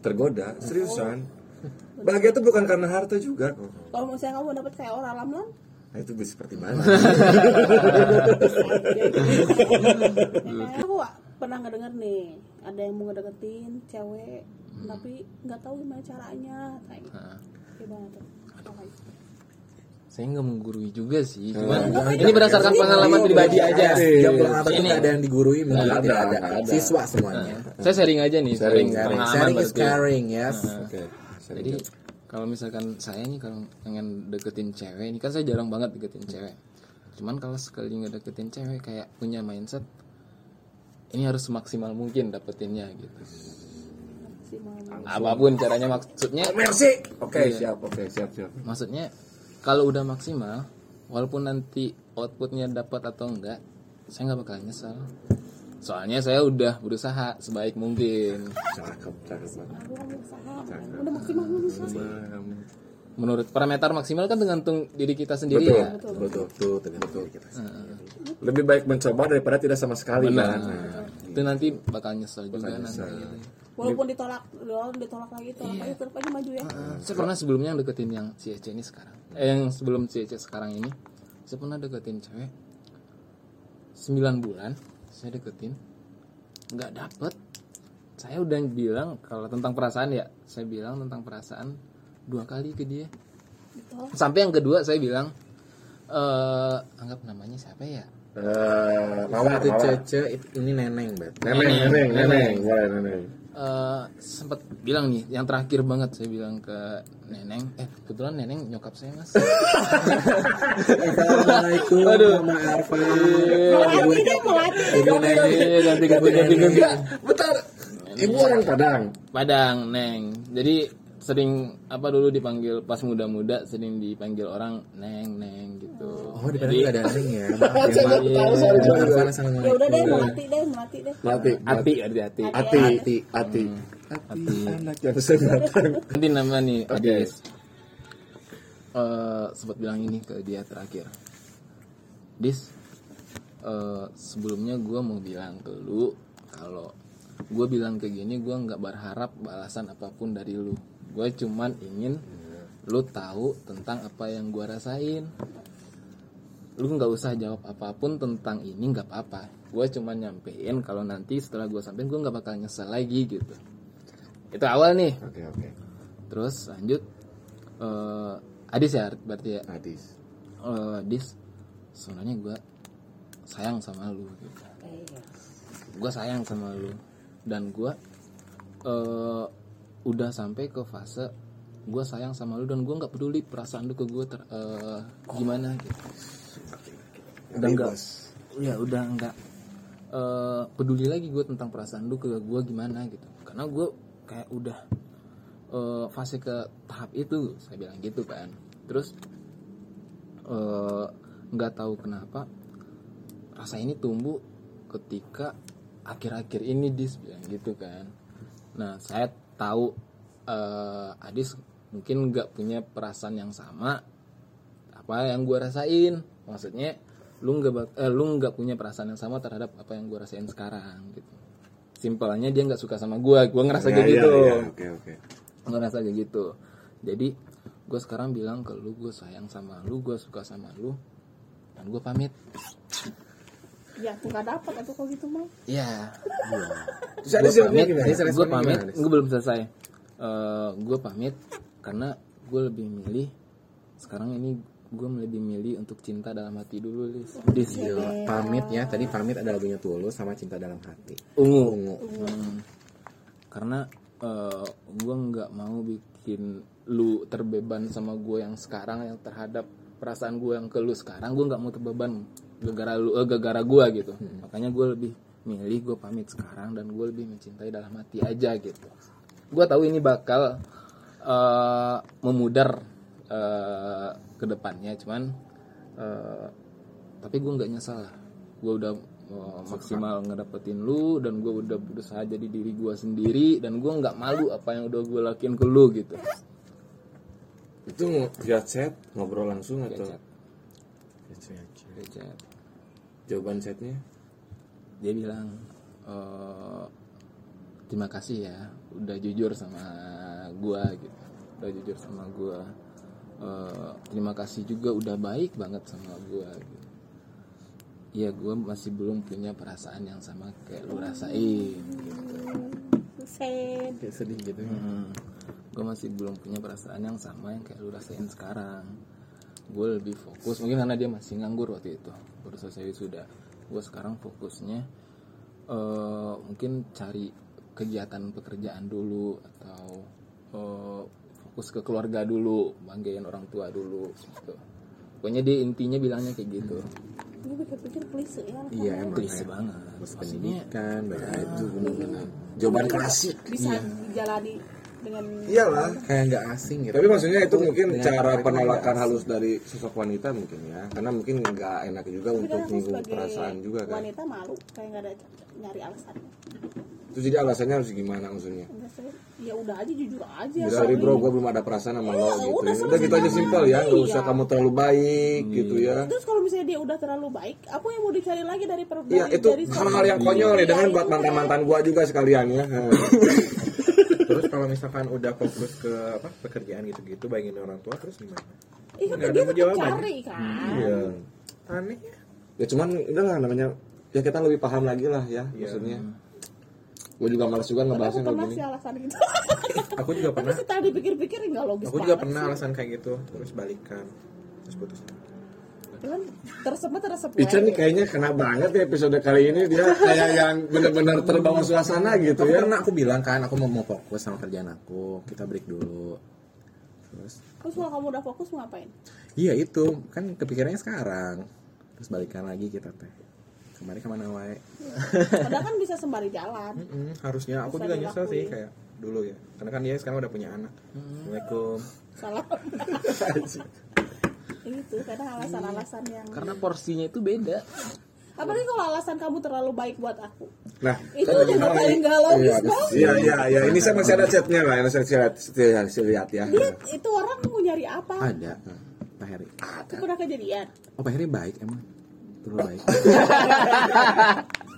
A: tergoda, seriusan. Bahagia tuh bukan karena harta juga kok.
B: kalau misalnya kamu dapat kayak orang lamlam
A: Nah, itu bisa seperti mana?
B: aku wa- pernah ngedenger nih ada yang mau ngedeketin cewek tapi nggak tahu gimana caranya kayak gitu.
D: Heeh.
B: gimana tuh Apa?
D: saya nggak menggurui juga sih
C: Iya.
D: cuman ini berdasarkan pengalaman pribadi aja
C: Setiap pengalaman tuh
D: Iya. Ini.
C: nggak ada yang digurui, mungkin
A: Nggak ada,
C: tidak ada.
A: nggak ada.
C: Siswa semuanya.
D: saya sharing aja nih sharing,
C: iya. Sharing,
D: pengalaman
C: sharing is
F: ya.
D: berarti.
C: caring, yes.
A: Oke.
D: Jadi kalau misalkan saya nih kalau pengen deketin cewek ini kan saya jarang banget deketin cewek. Cuman kalau sekali ngedeketin cewek kayak punya mindset ini harus semaksimal mungkin dapetinnya gitu.
B: Si Mama.
D: Apapun caranya maksudnya
A: Mercy. Oke, siap. Oke, siap, siap.
D: maksudnya kalau udah maksimal walaupun nanti outputnya dapat atau enggak saya nggak bakal nyesel. Soalnya saya udah berusaha sebaik mungkin.
A: Cakep, cakep banget.
B: Aku kan usaha, udah maksimal belum usaha.
D: Menurut parameter maksimal kan tergantung diri kita sendiri ya.
C: Betul, betul, betul.
F: gitu.
C: kita sih.
F: ya.
A: Lebih baik mencoba daripada tidak sama sekali kan.
D: Itu nanti bakal nyesel juga nanti. gitu.
B: Walaupun ditolak, walaupun ditolak lagi, tolak lagi tetap aja maju ya.
D: Saya pernah sebelumnya deketin yang si Ece ini sekarang. Eh, yang sebelum si Ece sekarang ini, saya pernah deketin cewek 9 bulan. Saya deketin, nggak dapet. Saya udah bilang kalau tentang perasaan ya, saya bilang tentang perasaan dua kali ke dia.
B: Ditolak.
D: Sampai yang kedua saya bilang, eh anggap namanya siapa
A: Eh,
D: ya?
C: Mawar,
A: mawar,
C: itu
A: mawar.
C: cece, itu- ini neneng, bet.
A: Neneng, neneng, neneng, boleh neneng.
D: eh sempat bilang nih yang terakhir banget saya bilang ke neneng eh kebetulan neneng nyokap saya mas
C: Assalamualaikum, Mama Arfa.
B: Melatih deh, melatih.
C: Ibu neneng.
D: Eh, ganti ganti ganti ganti
A: Iya, Bentar. Ibu orang Padang.
D: Padang neng jadi sering apa dulu dipanggil pas muda-muda sering dipanggil orang neng neng gitu
C: Oh, di
D: Jadi,
C: Padang ada neneng ya. Maaf ya, Mbak. Mama Arfa,
B: Ya udah deh,
C: Assalamualaikum.
B: melatih deh, melatih deh.
A: Mati,
D: hati hati hati
A: hati, hati, Hmm. hati.
D: hati
A: Anak yang sebatang.
D: nanti nama nih
A: Oke.
D: Adis Eh, sempat bilang ini ke dia terakhir Dis eh, sebelumnya gue mau bilang ke lu kalau gue bilang ke gini gue nggak berharap balasan apapun dari lu gue cuman ingin lu tahu tentang apa yang gue rasain lu nggak usah jawab apapun tentang ini nggak apa-apa gue cuman nyampein kalau nanti setelah gue sampein gue nggak bakal nyesel lagi gitu itu awal nih
A: Oke, oke.
D: Terus lanjut eh Adis ya berarti ya.
A: Hadis.
D: Eh, Adis sebenarnya gue sayang sama lu gitu. Gue sayang sama lu dan gue eh udah sampai ke fase gue sayang sama lu dan gue nggak peduli perasaan lu ke gue ter- eh, gimana gitu udah enggak ya udah enggak eh, peduli lagi gue tentang perasaan lu ke gue gimana gitu karena gue kayak udah eh, fase ke tahap itu saya bilang gitu kan terus eh, nggak tahu kenapa rasa ini tumbuh ketika akhir-akhir ini dis bilang gitu kan nah saya tahu eh, Adis mungkin nggak punya perasaan yang sama apa yang gue rasain maksudnya lu nggak bak- eh, lu nggak punya perasaan yang sama terhadap apa yang gue rasain sekarang gitu simpelnya dia nggak suka sama gue gue ngerasa kayak gitu
F: Oke oke.
D: gue ngerasa kayak gitu jadi gue sekarang bilang ke lu gue sayang sama lu gue suka sama lu dan gue pamit
B: ya aku nggak dapat atau kok gitu mah
D: Iya
F: Terus
D: gue
F: Adis jawabnya
D: pamit
F: gimana?
D: gue
F: Responnya
D: pamit
F: gimana, Adis?
D: gue belum selesai gue pamit karena gue lebih milih sekarang ini gue lebih milih untuk cinta dalam hati dulu Lis.
C: Dis, gila. pamit ya. Tadi pamit ada lagunya Tulus sama Cinta Dalam Hati.
D: ungu, Hmm. karena gue nggak mau bikin lu terbeban sama gue yang sekarang yang terhadap perasaan gue yang ke lu sekarang gue nggak mau terbeban gara-gara lu eh, gara-gara gue gitu makanya gue lebih milih gue pamit sekarang dan gue lebih mencintai dalam hati aja gitu gue tahu ini bakal eh, memudar eh, ke depannya cuman eh, tapi gue nggak nyesal lah gue udah eh, maksimal ngedapetin lu dan gue udah berusaha jadi diri gue sendiri dan gue nggak malu apa yang udah gue lakuin ke lu gitu
F: Itu ngo- via chat ngobrol langsung
D: Via
F: atau
D: chat. Dia chat.
F: jawaban chatnya?
D: dia bilang eh, terima kasih ya udah jujur sama gue gitu udah jujur sama gue terima kasih juga udah baik banget sama gue gitu. Iya gue masih belum punya perasaan yang sama kayak lu rasain gitu.
B: sen
C: Kayak sedih gitu.
D: gue masih belum punya perasaan yang sama yang kayak lu rasain sekarang gue lebih fokus mungkin karena dia masih nganggur waktu itu baru selesai sudah gue sekarang fokusnya eh, mungkin cari kegiatan pekerjaan dulu atau eh, fokus ke keluarga dulu banggain orang tua dulu gitu pokoknya dia intinya bilangnya kayak gitu
B: ini pikir-pikir klise ya anak
C: Iya emang.
D: Klise
C: kayak
D: banget.
C: Bos
D: Maksudnya-
C: pendidikan,
F: Nah,
C: baju,
F: Jawaban klasik.
B: bisa dijalani dengan
F: Iyalah.
C: kayak nggak asing gitu.
F: Tapi maksudnya
A: Iya,
F: itu
C: Aku
F: mungkin
C: dengan
F: cara
C: karakter
F: penolakan
C: nggak
F: halus dari sosok wanita mungkin ya. Karena mungkin nggak enak juga
B: Tapi
F: untuk
B: kan aku
F: menyinggung
B: sebagai
F: perasaan juga kan.
B: wanita malu kayak nggak ada nyari alasannya
F: Terus jadi alasannya harus gimana maksudnya?
B: Enggak sih. ya udah aja jujur aja
F: Sorry
B: Iya, Soalnya
F: bro, gue belum ada perasaan sama lo
B: Iya,
F: gitu.
B: udah
F: ya.
B: sama
F: Udah gitu aja
B: sama.
F: simpel ya, nggak usah
B: Iya.
F: kamu terlalu baik gitu
A: Iya.
F: ya.
B: terus kalau misalnya dia udah terlalu baik apa yang mau dicari lagi dari per
F: Iya
B: dari-
F: itu
B: dari
F: hal-hal yang
B: seorang-
F: konyol nih
B: Nah, Iya,
F: dengan
B: itu
F: buat
B: kan.
F: mantan-mantan gue juga sekalian ya.
C: Terus kalau misalkan udah fokus ke apa pekerjaan gitu-gitu, bayangin orang tua terus gimana?
B: Iya, dia
C: Nggak ada
B: tetap
C: jawaban.
B: cari kan
F: Iya.
C: Aneh ya.
F: Ya cuman udah lah namanya ya kita lebih paham lagi lah ya maksudnya. Gue juga males juga
B: Tapi aku
F: ngebahasnya kayak
B: pernah
F: gini.
B: sih alasan gitu
C: Aku juga
B: tapi
C: pernah.
B: setelah dipikir-pikir nggak logis
C: Aku juga
B: banget
C: pernah
B: sih.
C: alasan kayak gitu, terus balikan, terus putus.
B: kan tersebut tersebut
F: Ica nih kayaknya kena banget ya episode kali ini dia kayak yang benar-benar terbawa suasana gitu
C: Tapi
A: Iya.
F: ya.
C: karena aku bilang kan, aku mau, mau fokus sama kerjaan aku, kita break dulu. Terus,
B: terus kalau kamu udah fokus mau ngapain
C: iya itu, kan kepikirannya sekarang. Terus balikan lagi kita teh. Kemarin kemana wae?
B: padahal kan bisa sembari jalan
C: Mm-mm, harusnya aku
B: Bisa
C: juga nyesel sih
B: dilakuin. Mm.
C: kayak dulu ya. Karena kan dia sekarang udah punya anak. Assalamualaikum.
B: salah itu kadang alasan-alasan yang
F: Kan-
D: karena porsinya itu beda
B: apalagi kalau alasan kamu terlalu baik buat aku
F: Nah,
B: itu
C: Kan
B: udah paling gak logis banget
F: Iya iya iya ini saya masih ada chatnya lah, ini saya masih lihat, masih lihat ya.
B: dia itu orang mau nyari apa
C: Ada Pak Heri.
B: itu pernah kejadian
C: Oh Pak Heri baik emang. Terlalu baik.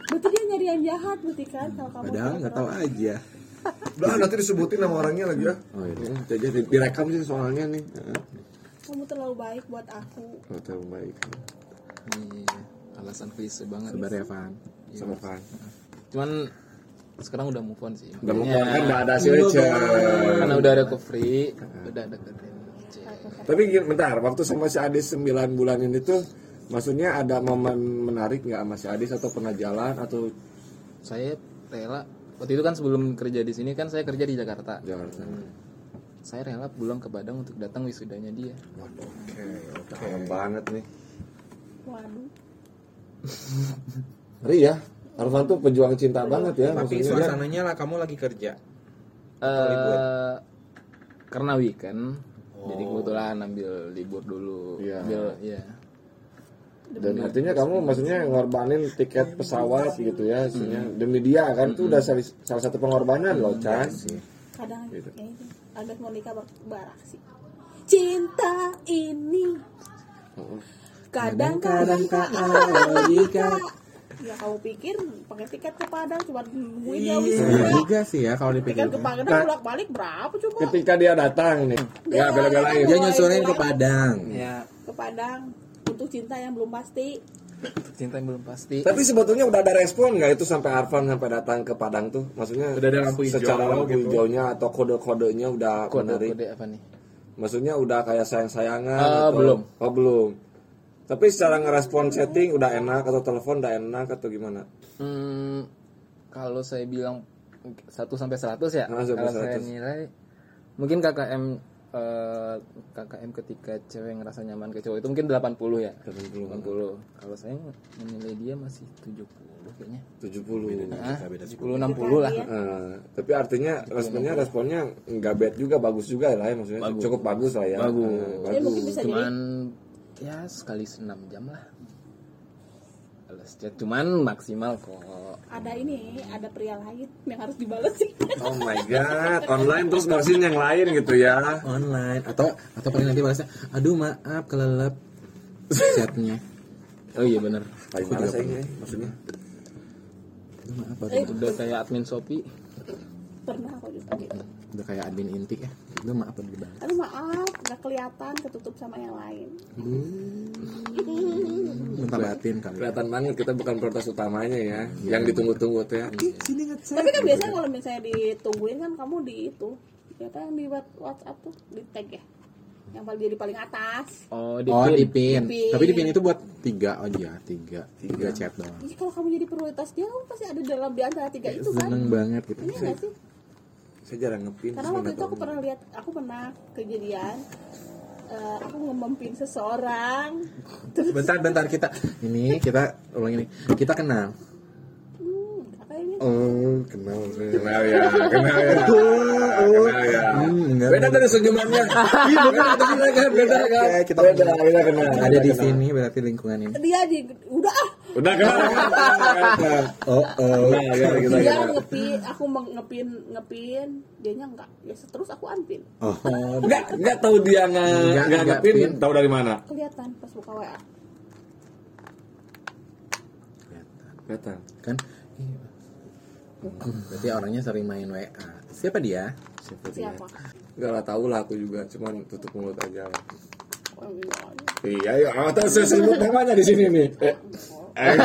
B: berarti dia nyari yang jahat berarti kan kalau kamu
C: Padahal nggak tahu aja.
F: Udah nanti disebutin nama orangnya lagi ya.
C: Oh iya.
F: Jadi direkam sih soalnya nih. Heeh.
B: kamu terlalu baik buat aku
F: Nggak tahu baik.
D: Ini Iya, alasan klise banget
C: Kabar ya Van.
F: Sama kan.
D: cuman sekarang udah move on sih
F: Udah mau
D: Makanya-
F: kan nggak ada si Ica.
D: karena udah recovery udah deketin Ece.
F: Tapi gini, bentar, waktu sama si Adis 9 bulan ini tuh maksudnya ada momen menarik nggak sama si Adis atau pernah jalan atau
D: saya rela waktu itu kan sebelum kerja di sini kan saya kerja di Jakarta
F: Jakarta?
D: saya rela pulang ke Padang untuk datang wisudanya dia.
A: Oke, oke.
G: Paham banget nih.
B: waduh
A: Ngeri ya. Arfan tuh pejuang cinta banget ya.
H: Tapi
A: maksudnya dia-
H: suasananya lah kamu lagi kerja.
D: eh karena weekend, jadi kebetulan ambil libur dulu.
A: Iya.
D: Ambil, iya.
A: dan artinya kamu maksudnya ngorbanin tiket pesawat gitu ya maksudnya demi dia kan itu udah salah, salah satu pengorbanan loh Chan
B: kadang ya itu agak Monica bar- barak sih cinta ini kadang-kadang tak logika ya kamu pikir pakai tiket ke Padang cuma nungguin dia
C: Iya
B: wisuda
C: juga sih ya kalau dipikir.
B: tiket ke Padang bolak balik berapa coba
A: ketika dia datang nih ya
B: Kan
A: bela-belain
H: Dia nyusulin ke Padang.
D: Ya,
B: ke Padang untuk cinta yang belum pasti
D: Cinta yang belum pasti.
A: tapi sebetulnya udah ada respon nggak itu sampai Arfan sampai datang ke Padang tuh maksudnya
H: Udah ada lampu hijau
A: secara lampu
H: gitu.
A: hijaunya atau kode-kodenya udah menarik
D: Kode-kode apa nih?
A: maksudnya udah kayak sayang-sayangan
H: Ah,
D: Eh,
A: atau-
D: belum.
A: oh belum tapi secara ngerespon chatting udah enak atau telepon udah enak atau gimana
D: Hmm, kalau saya bilang 1 sampai 100 ya.
C: Ah,
A: Nah, sampai
D: kalau saya
A: 100.
D: nilai mungkin KKM eh, KKM ketika cewek ngerasa nyaman ke cowok itu mungkin 80 ya.
A: 70.
D: 80. Kalau saya menilai dia masih 70 kayaknya. Ah,
A: 70
D: 70 60 lah.
A: Eh, tapi artinya responnya responnya nggak bad juga bagus juga lah ya maksudnya cukup bagus lah ya
D: Bagus.
A: Eh,
B: ya mungkin bisa jadi
D: Cuman ya sekali 6 jam lah. Balas chat cuman maksimal kok.
B: ada ini ada pria lain yang harus dibalas sih
A: oh my god online terus balesin yang lain gitu ya
C: online atau atau paling nanti balasnya aduh maaf kelelep chatnya
D: Oh iya bener
A: paling males saya ini maksudnya
C: aduh maaf aduh maaf.
D: Udah kayak admin Shopee.
B: pernah aku juga gitu
C: udah kayak admin inti ya aduh maaf aduh bang
B: aduh maaf nggak kelihatan ketutup sama yang lain
C: minta batin kali ya. Iya.
A: kelihatan banget kita bukan prioritas utamanya ya yang ditunggu-tunggu tuh ya
B: tapi kan biasanya kalau misalnya ditungguin kan kamu di itu ya kan di wat- WhatsApp tuh di tag ya yang paling jadi paling atas
D: Oh, di
C: oh
D: pin.
C: di pin
B: Di pin.
C: tapi di pin itu buat tiga oh iya tiga tiga chat doang
B: jadi Iya, kalau kamu jadi prioritas dia kamu pasti ada dalam di antara tiga itu kan
C: seneng banget gitu
B: iya nggak sih
A: saya jarang ngepin
B: karena waktu itu aku pernah lihat aku pernah kejadian eh, aku ngempin seseorang terus
C: bentar bentar kita ini kita ulang ini kita kenal
B: hmm, kayaknya
C: oh kenal saya.
A: kenal ya kenal ya kenal ya
C: hmm, enggak
A: beda dari senyumannya Iya, beda beda kan beda kan
C: Oke, Iya, kita
A: beda beda kenal
C: ada di sini berarti lingkungan ini
B: dia di udah ah
A: udah kenal kan
C: oh oh
A: Nah, ya, kita
B: dia
A: kenal.
B: ngepin aku meng- ngepin ngepin dianya enggak ya terus aku anpin
C: oh
A: Enggak, enggak tahu dia nge
C: Nggak,
A: enggak
C: nggak
A: ngerti
C: pin.
A: tahu dari mana.
B: kelihatan pas buka WA
A: Datang.
C: kan iya. berarti orangnya sering main WA siapa dia
A: Iya.
B: siapa
A: Enggak lah tahu lah aku juga, cuman tutup mulut aja. lah.
B: Oh, iya.
A: Iya, iya, atau saya sebut namanya di sini nih. Eh, eh,
B: Eh,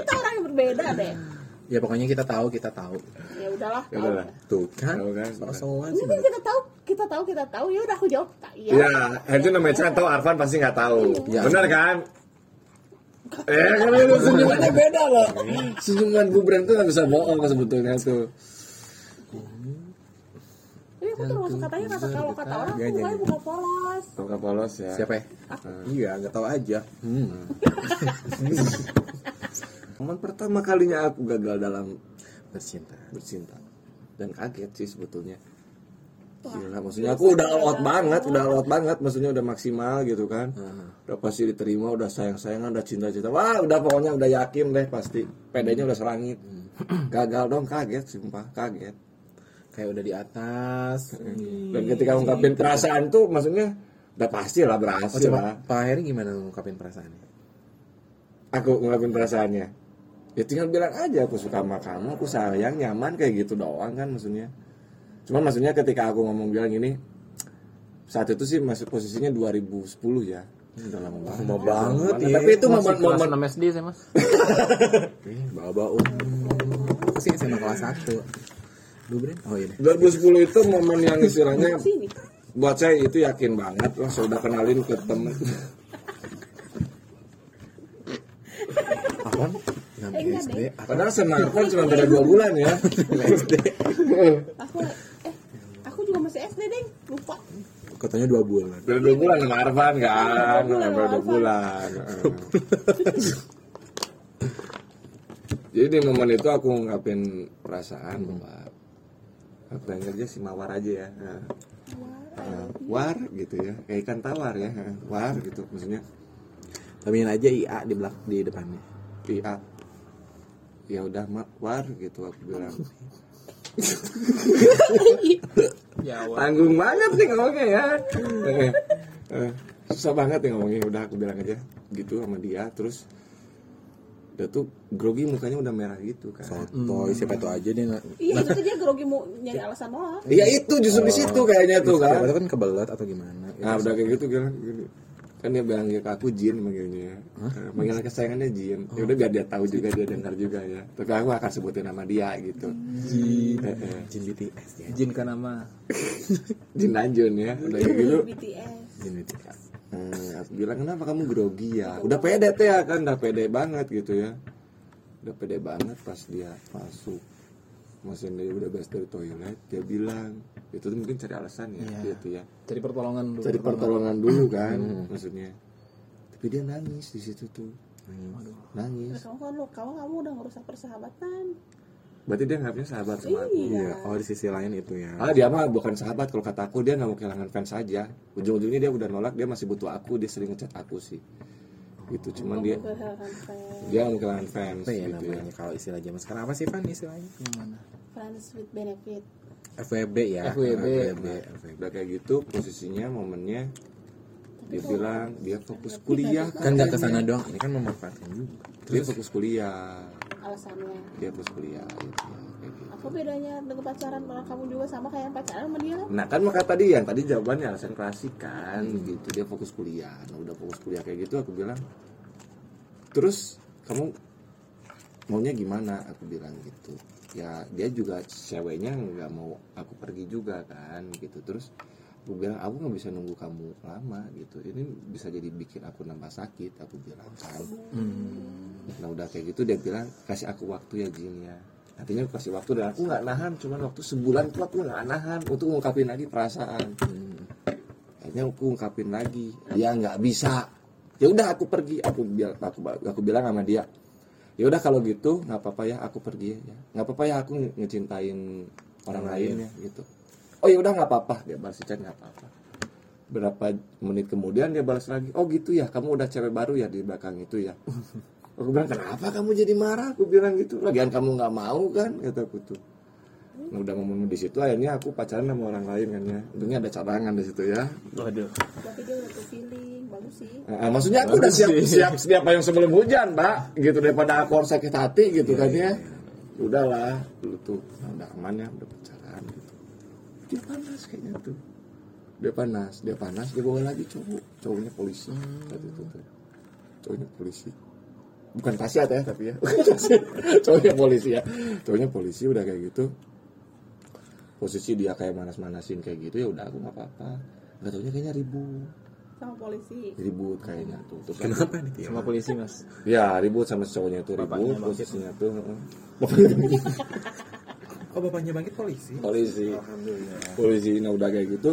B: kita orang yang berbeda deh
C: ya pokoknya kita tahu kita tahu
B: ya udahlah
A: Ya
B: tahu.
A: udahlah.
C: tuh kan
A: Tahu kan?
C: sok-sokan
B: ini
C: sih
B: kan kita tahu kita tahu kita tahu ya udah aku jawab tak iya
A: Iya, itu namanya Chan tahu Arfan pasti nggak tahu.
C: Iya.
A: Benar kan? Eh, kan itu senyumannya beda loh. Senyuman bubrem tuh nggak bisa bohong sebetulnya tuh.
B: ini aku termasuk katanya kata kalau kata orang
A: Iya,
B: aku mukanya buka polos
A: Buka polos ya.
C: siapa ya? iya nggak tahu aja hmm.
A: Momen pertama kalinya aku gagal dalam
C: bercinta
A: bercinta dan kaget sih sebetulnya Gila, maksudnya aku udah all out banget, udah all out banget, maksudnya udah maksimal gitu kan. Udah pasti diterima, udah sayang-sayangan, udah cinta-cinta. Wah, udah pokoknya udah yakin deh pasti. Pedenya udah selangit. Gagal dong, kaget sumpah, kaget.
C: kayak udah di atas
A: Dan ketika ungkapin perasaan tuh maksudnya udah pasti lah
C: oh
A: berhasil lah.
C: coba Pak Heri gimana ngungkapin perasaannya
A: Aku ungkapin perasaannya. Ya tinggal bilang aja aku suka sama kamu, aku sayang, nyaman kayak gitu doang kan maksudnya. Cuman maksudnya ketika aku ngomong bilang ini saat itu sih masih posisinya 2010 ya. Udah lama banget.
C: Lama banget,
A: Lama
C: iya.
A: Tapi itu
D: Kelas
A: momen-momen
D: 6 SD saya, Mas.
C: bawa bawa Eh, aku sih SMA kelas satu lu Bren? oh iya deh
A: 2010 itu momen yang istilahnya
B: sini
A: buat saya itu yakin banget lah saya udah kenalin ke temen
C: apaan enam
B: enggak
C: SD
B: deh.
C: apa
A: padahal senang kan cuma beda dua bulan ya
B: aku eh aku juga masih SD deh lupa
F: Katanya dua bulan.
A: Udah dua bulan sama Arfan kan.
B: Dua
A: Udah
B: bulan sama
A: dua
B: Arfan.
A: bulan. Eh. Jadi di momen itu aku ngungkapin perasaan bahwa aku yang kerja si mawar aja ya. Nah, eh, war gitu ya, kayak ikan tawar ya. eh, War gitu maksudnya.
C: Tambahin aja IA di belak di depannya.
A: Iya. Ya udah mak war gitu aku bilang.
D: Ya, wah.
A: Tanggung banget sih ngomongnya ya. Eh, eh, Susah banget nih ngomongnya. Udah aku bilang aja gitu sama dia. Terus dia tuh grogi mukanya udah merah gitu kan.
D: Hmm.
C: Sotoy siapa tuh aja dia nggak.
B: iya itu dia grogi mau nyari alasan
A: Nah.
B: doang
A: Iya itu justru di situ kayaknya tuh kan.
D: Iya.
C: Siapa tuh kan kebelet atau gimana? Ya,
A: Nah udah kayak gitu bilang gini. Kan dia bilang ya ke aku Jin manggilnya. Eh, Panggilan kesayangannya Jin.
D: Oh.
A: Ya udah biar dia tahu juga dia dengar juga ya. Tapi aku akan sebutin nama dia gitu.
D: Jin,
A: Eh, eh,
C: Jin BTS ya.
D: Jin Kanama.
A: Jin Lanjun ya. Udah kayak gitu.
B: BTS
C: Jin BTS.
A: Eh, aku bilang kenapa kamu grogi ya? Udah pede teh ya kan, udah pede banget gitu ya. Udah pede banget pas dia masuk mesin dia udah beres dari toilet, dia bilang itu tuh mungkin cari alasan ya,
D: Iya.
A: gitu ya.
D: Cari pertolongan dulu.
A: Cari pertolongan dulu kan, maksudnya. Tapi dia nangis di situ tuh, nangis.
B: kamu kan lu kamu kamu udah ngerusak persahabatan
A: Berarti dia nggak punya sahabat sama aku.
C: Iya. Oh di sisi lain itu ya.
A: Ah dia mah bukan sahabat kalau kata aku dia nggak mau kehilangan fans aja. Ujung-ujungnya dia udah nolak, dia masih butuh aku, dia sering ngechat aku sih. Gitu cuman dia
B: kehilangan fans
A: dia nggak mau kehilangan fans
C: Apa ya
A: gitu ya.
C: namanya kalau istilah zaman sekarang apa sih Pan istilahnya?
D: Yang mana?
B: friends with benefit
C: FWB ya.
D: FWB.
C: FWB. FWB.
A: Iya, udah kayak gitu posisinya momennya dia bilang dia fokus kuliah kan
C: Kan nggak kesana doang. Ini kan memanfaatkan juga.
A: dia fokus kuliah
B: alasannya
A: dia fokus kuliah gitu ya, kayak gitu.
B: apa bedanya dengan pacaran malah kamu juga sama kayak yang pacaran sama dia
A: nah kan maka tadi yang tadi jawabannya alasan klasik kan gitu dia fokus kuliah nah udah fokus kuliah kayak gitu aku bilang terus kamu maunya gimana aku bilang gitu ya dia juga ceweknya nggak mau aku pergi juga kan gitu terus aku bilang aku nggak bisa nunggu kamu lama gitu ini bisa jadi bikin aku nambah sakit aku bilang kan nah udah kayak gitu dia bilang kasih aku waktu ya Jin ya artinya aku kasih waktu dan aku nggak nahan cuman waktu sebulan tuh aku nggak nahan untuk ngungkapin lagi perasaan akhirnya aku ungkapin lagi dia nggak bisa ya udah aku pergi aku bilang aku aku bilang sama dia ya udah kalau gitu nggak apa-apa ya aku pergi ya nggak apa-apa ya aku nge- ngecintain orang lain ya gitu oh ya udah nggak apa-apa dia balas chat nggak apa-apa berapa menit kemudian dia balas lagi oh gitu ya kamu udah cewek baru ya di belakang itu ya aku bilang kenapa kamu jadi marah aku bilang gitu lagian kamu nggak mau kan kata aku tuh Nah, udah ngomong di situ akhirnya aku pacaran sama orang lain kan ya untungnya ada cadangan di situ ya
D: Waduh.
B: tapi dia udah tuh feeling bagus sih
A: Eh, eh, maksudnya aku udah siap siap siap payung sebelum hujan, Pak. Gitu daripada aku harus sakit hati gitu kan ya. Udahlah, lu tuh nah, udah aman ya, udah pacaran gitu. Dia panas kayaknya tuh. Dia panas, dia panas, dia bawa lagi cowok. Cowoknya polisi. Saat itu tuh. Cowoknya polisi. Bukan kasiat ya, tapi ya. cowoknya polisi ya. Cowoknya polisi udah kayak gitu. Posisi dia kayak manas-manasin kayak gitu ya udah aku nggak apa-apa. Gak taunya kayaknya ribut
B: sama polisi
A: ribut kayaknya tuh terus
C: Kenapa nih?
D: Sama polisi, Mas.
A: ya ribut sama si cowoknya itu ribut
D: Bapaknya
A: posisinya tuh heeh.
E: Oh bapaknya bangkit polisi.
A: polisi
E: Alhamdulillah.
A: polisi nah udah kayak gitu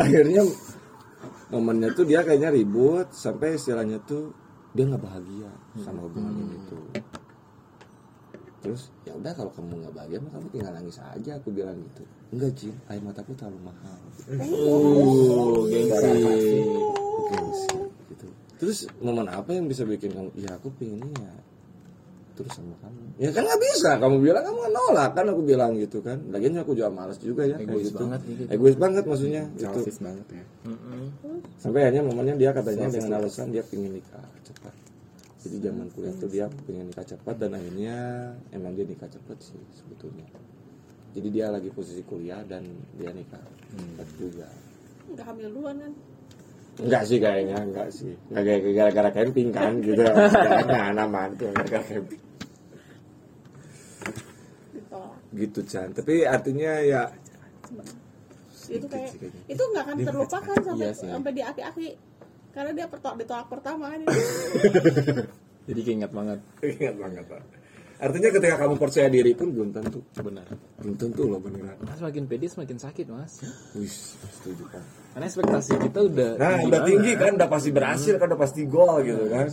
A: akhirnya momennya tuh dia kayaknya ribut sampai istilahnya tuh dia nggak bahagia sama hubungan ini tuh terus ya udah kalau kamu nggak bahagia mah kamu tinggal nangis aja aku bilang gitu enggak Jin air mataku terlalu mahal
D: Oh, gengsi.
A: gengsi gitu terus momen apa yang bisa bikin kamu ya aku pengennya ya terus sama kamu ya kan nggak bisa kamu bilang kamu kan nolak kan aku bilang gitu kan lagian aku juga males juga ya kayak
D: Egois
A: gitu.
D: banget ya gitu.
A: egois banget maksudnya gitu
C: Selfish banget ya.
D: Mm-mm.
A: sampai akhirnya momennya dia katanya dengan alasan dia pengen nikah cepat jadi zaman kuliah tuh dia pengen nikah cepat dan akhirnya emang dia nikah cepat sih sebetulnya jadi dia lagi posisi kuliah dan dia nikah cepat juga
B: nggak hamil duluan kan
A: Enggak sih kayaknya, enggak sih. Enggak kayak gara-gara camping kan gitu. Enggak aman tuh gara-gara camping.
B: ditolak
A: Gitu Chan. Tapi artinya ya
B: itu kayak itu nggak akan terlupakan
A: Iya
B: sampai sampai di aki-aki karena dia pertolak ditolak pertama kan
D: Jadi keinget banget.
A: ingat banget Pak. Artinya ketika kamu percaya diri pun belum tentu.
D: benar
A: Belum tentu loh beneran.
D: mas makin pede semakin sakit mas
A: Wih, setuju kan.
D: karena ekspektasi kita udah
A: Nah, udah
D: gimana?
A: tinggi kan, udah pasti berhasil kan, udah pasti gol gitu kan.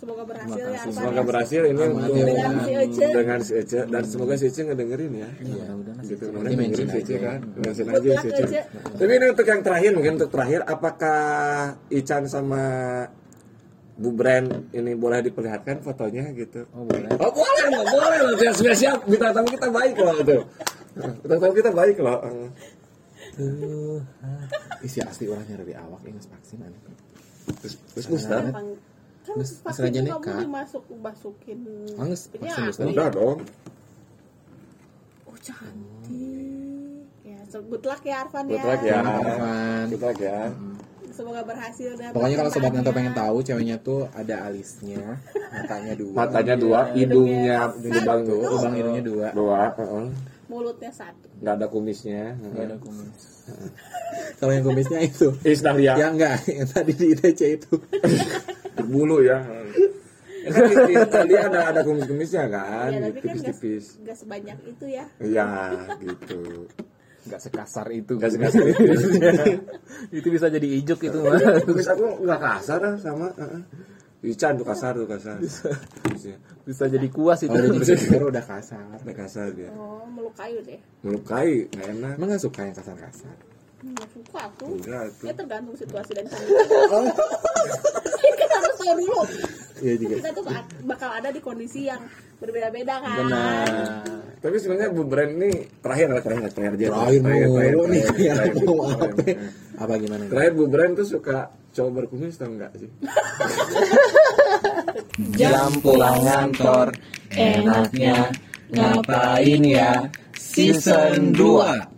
B: Semoga berhasil ya. Arfan,
A: Semoga
D: Iya.
B: ya.
A: berhasil ini untuk
B: Dengan si Ece.
A: dengan si Ece dan semoga si Ece ngedengerin ya.
D: ya udah mas
A: Gitu,
D: Nanti
A: kemarin ngedengerin
D: mention
A: si Ece
D: aja.
A: kan. Ngedengerin
B: Good
A: aja
B: luck,
A: si Ece.
B: Ece.
A: Tapi ini untuk yang terakhir mungkin untuk terakhir apakah Ican sama Bu Brand ini boleh diperlihatkan fotonya gitu?
D: oh boleh
A: Oh boleh loh, boleh loh. Siap, siap, siap. Bintang tamu kita baik loh itu. Bintang tamu kita baik loh.
D: Nah.
C: Isi asli orangnya dari awak ini vaksin
D: Ya.
C: anu.
A: Terus Gusta.
B: Kan kan vaksin
C: Serajane
B: kamu
C: Kak.
B: dimasuk masukin.
C: Mangs,
B: Ini
C: vaksin
B: asli.
A: Udah dong.
B: Oh cantik. Ya, so good luck ya Arfan ya.
A: Good luck ya.
C: Arfan.
A: Kita ya.
B: Semoga berhasil dan
C: Pokoknya kalau sobat nanto pengen tahu ceweknya tuh ada alisnya, matanya dua,
A: Matanya dua, hidungnya lubang tuh.
C: lubang hidungnya dua.
A: Dua, heeh.
B: mulutnya satu.
A: nggak ada kumisnya.
D: nggak
C: Iya.
D: ada kumis
C: Kalau yang kumisnya itu,
D: Iya.
A: Is Dahlia.
C: yang enggak, yang tadi di ITC itu.
A: berbulu ya. Ya kan, di- di- Tadi ada ada kumis-kumisnya kan,
B: ya, tapi kan gak,
A: tipis-tipis.
B: gak sebanyak itu ya.
A: Iya, gitu.
D: nggak sekasar itu
A: Gak sekasar itu.
D: itu bisa jadi ijuk itu mas
A: Kumis aku nggak kasar ah, sama. heeh. Ican tuh kasar tuh kasar. Kumisnya.
D: bisa jadi kuas itu
C: Kalau udah jadi udah kasar.
A: Nggak kasar dia.
B: Oh, melukai udah.
A: Melukai, nggak enak.
C: Emang gak suka yang kasar-kasar?
B: Nggak Hmm, suka aku.
A: Enggak tuh.
B: Ya tergantung situasi dan kondisi. kita harus tahu dulu.
C: Iya juga.
B: Kita tuh bak- bakal ada di kondisi yang berbeda-beda kan.
A: Tapi sebenarnya Bu Brand ini terakhir lah terakhir terakhir dia.
C: Nah. Terakhir mulu nih
A: terakhir,
C: kayak
A: terakhir,
C: mau
A: terakhir,
C: apa?
A: terakhir.
C: Apa gimana?
A: Terakhir Bu Brand tuh suka cowok berkumis atau enggak sih?
I: Jam pulang kantor Enaknya ngapain ya Season 2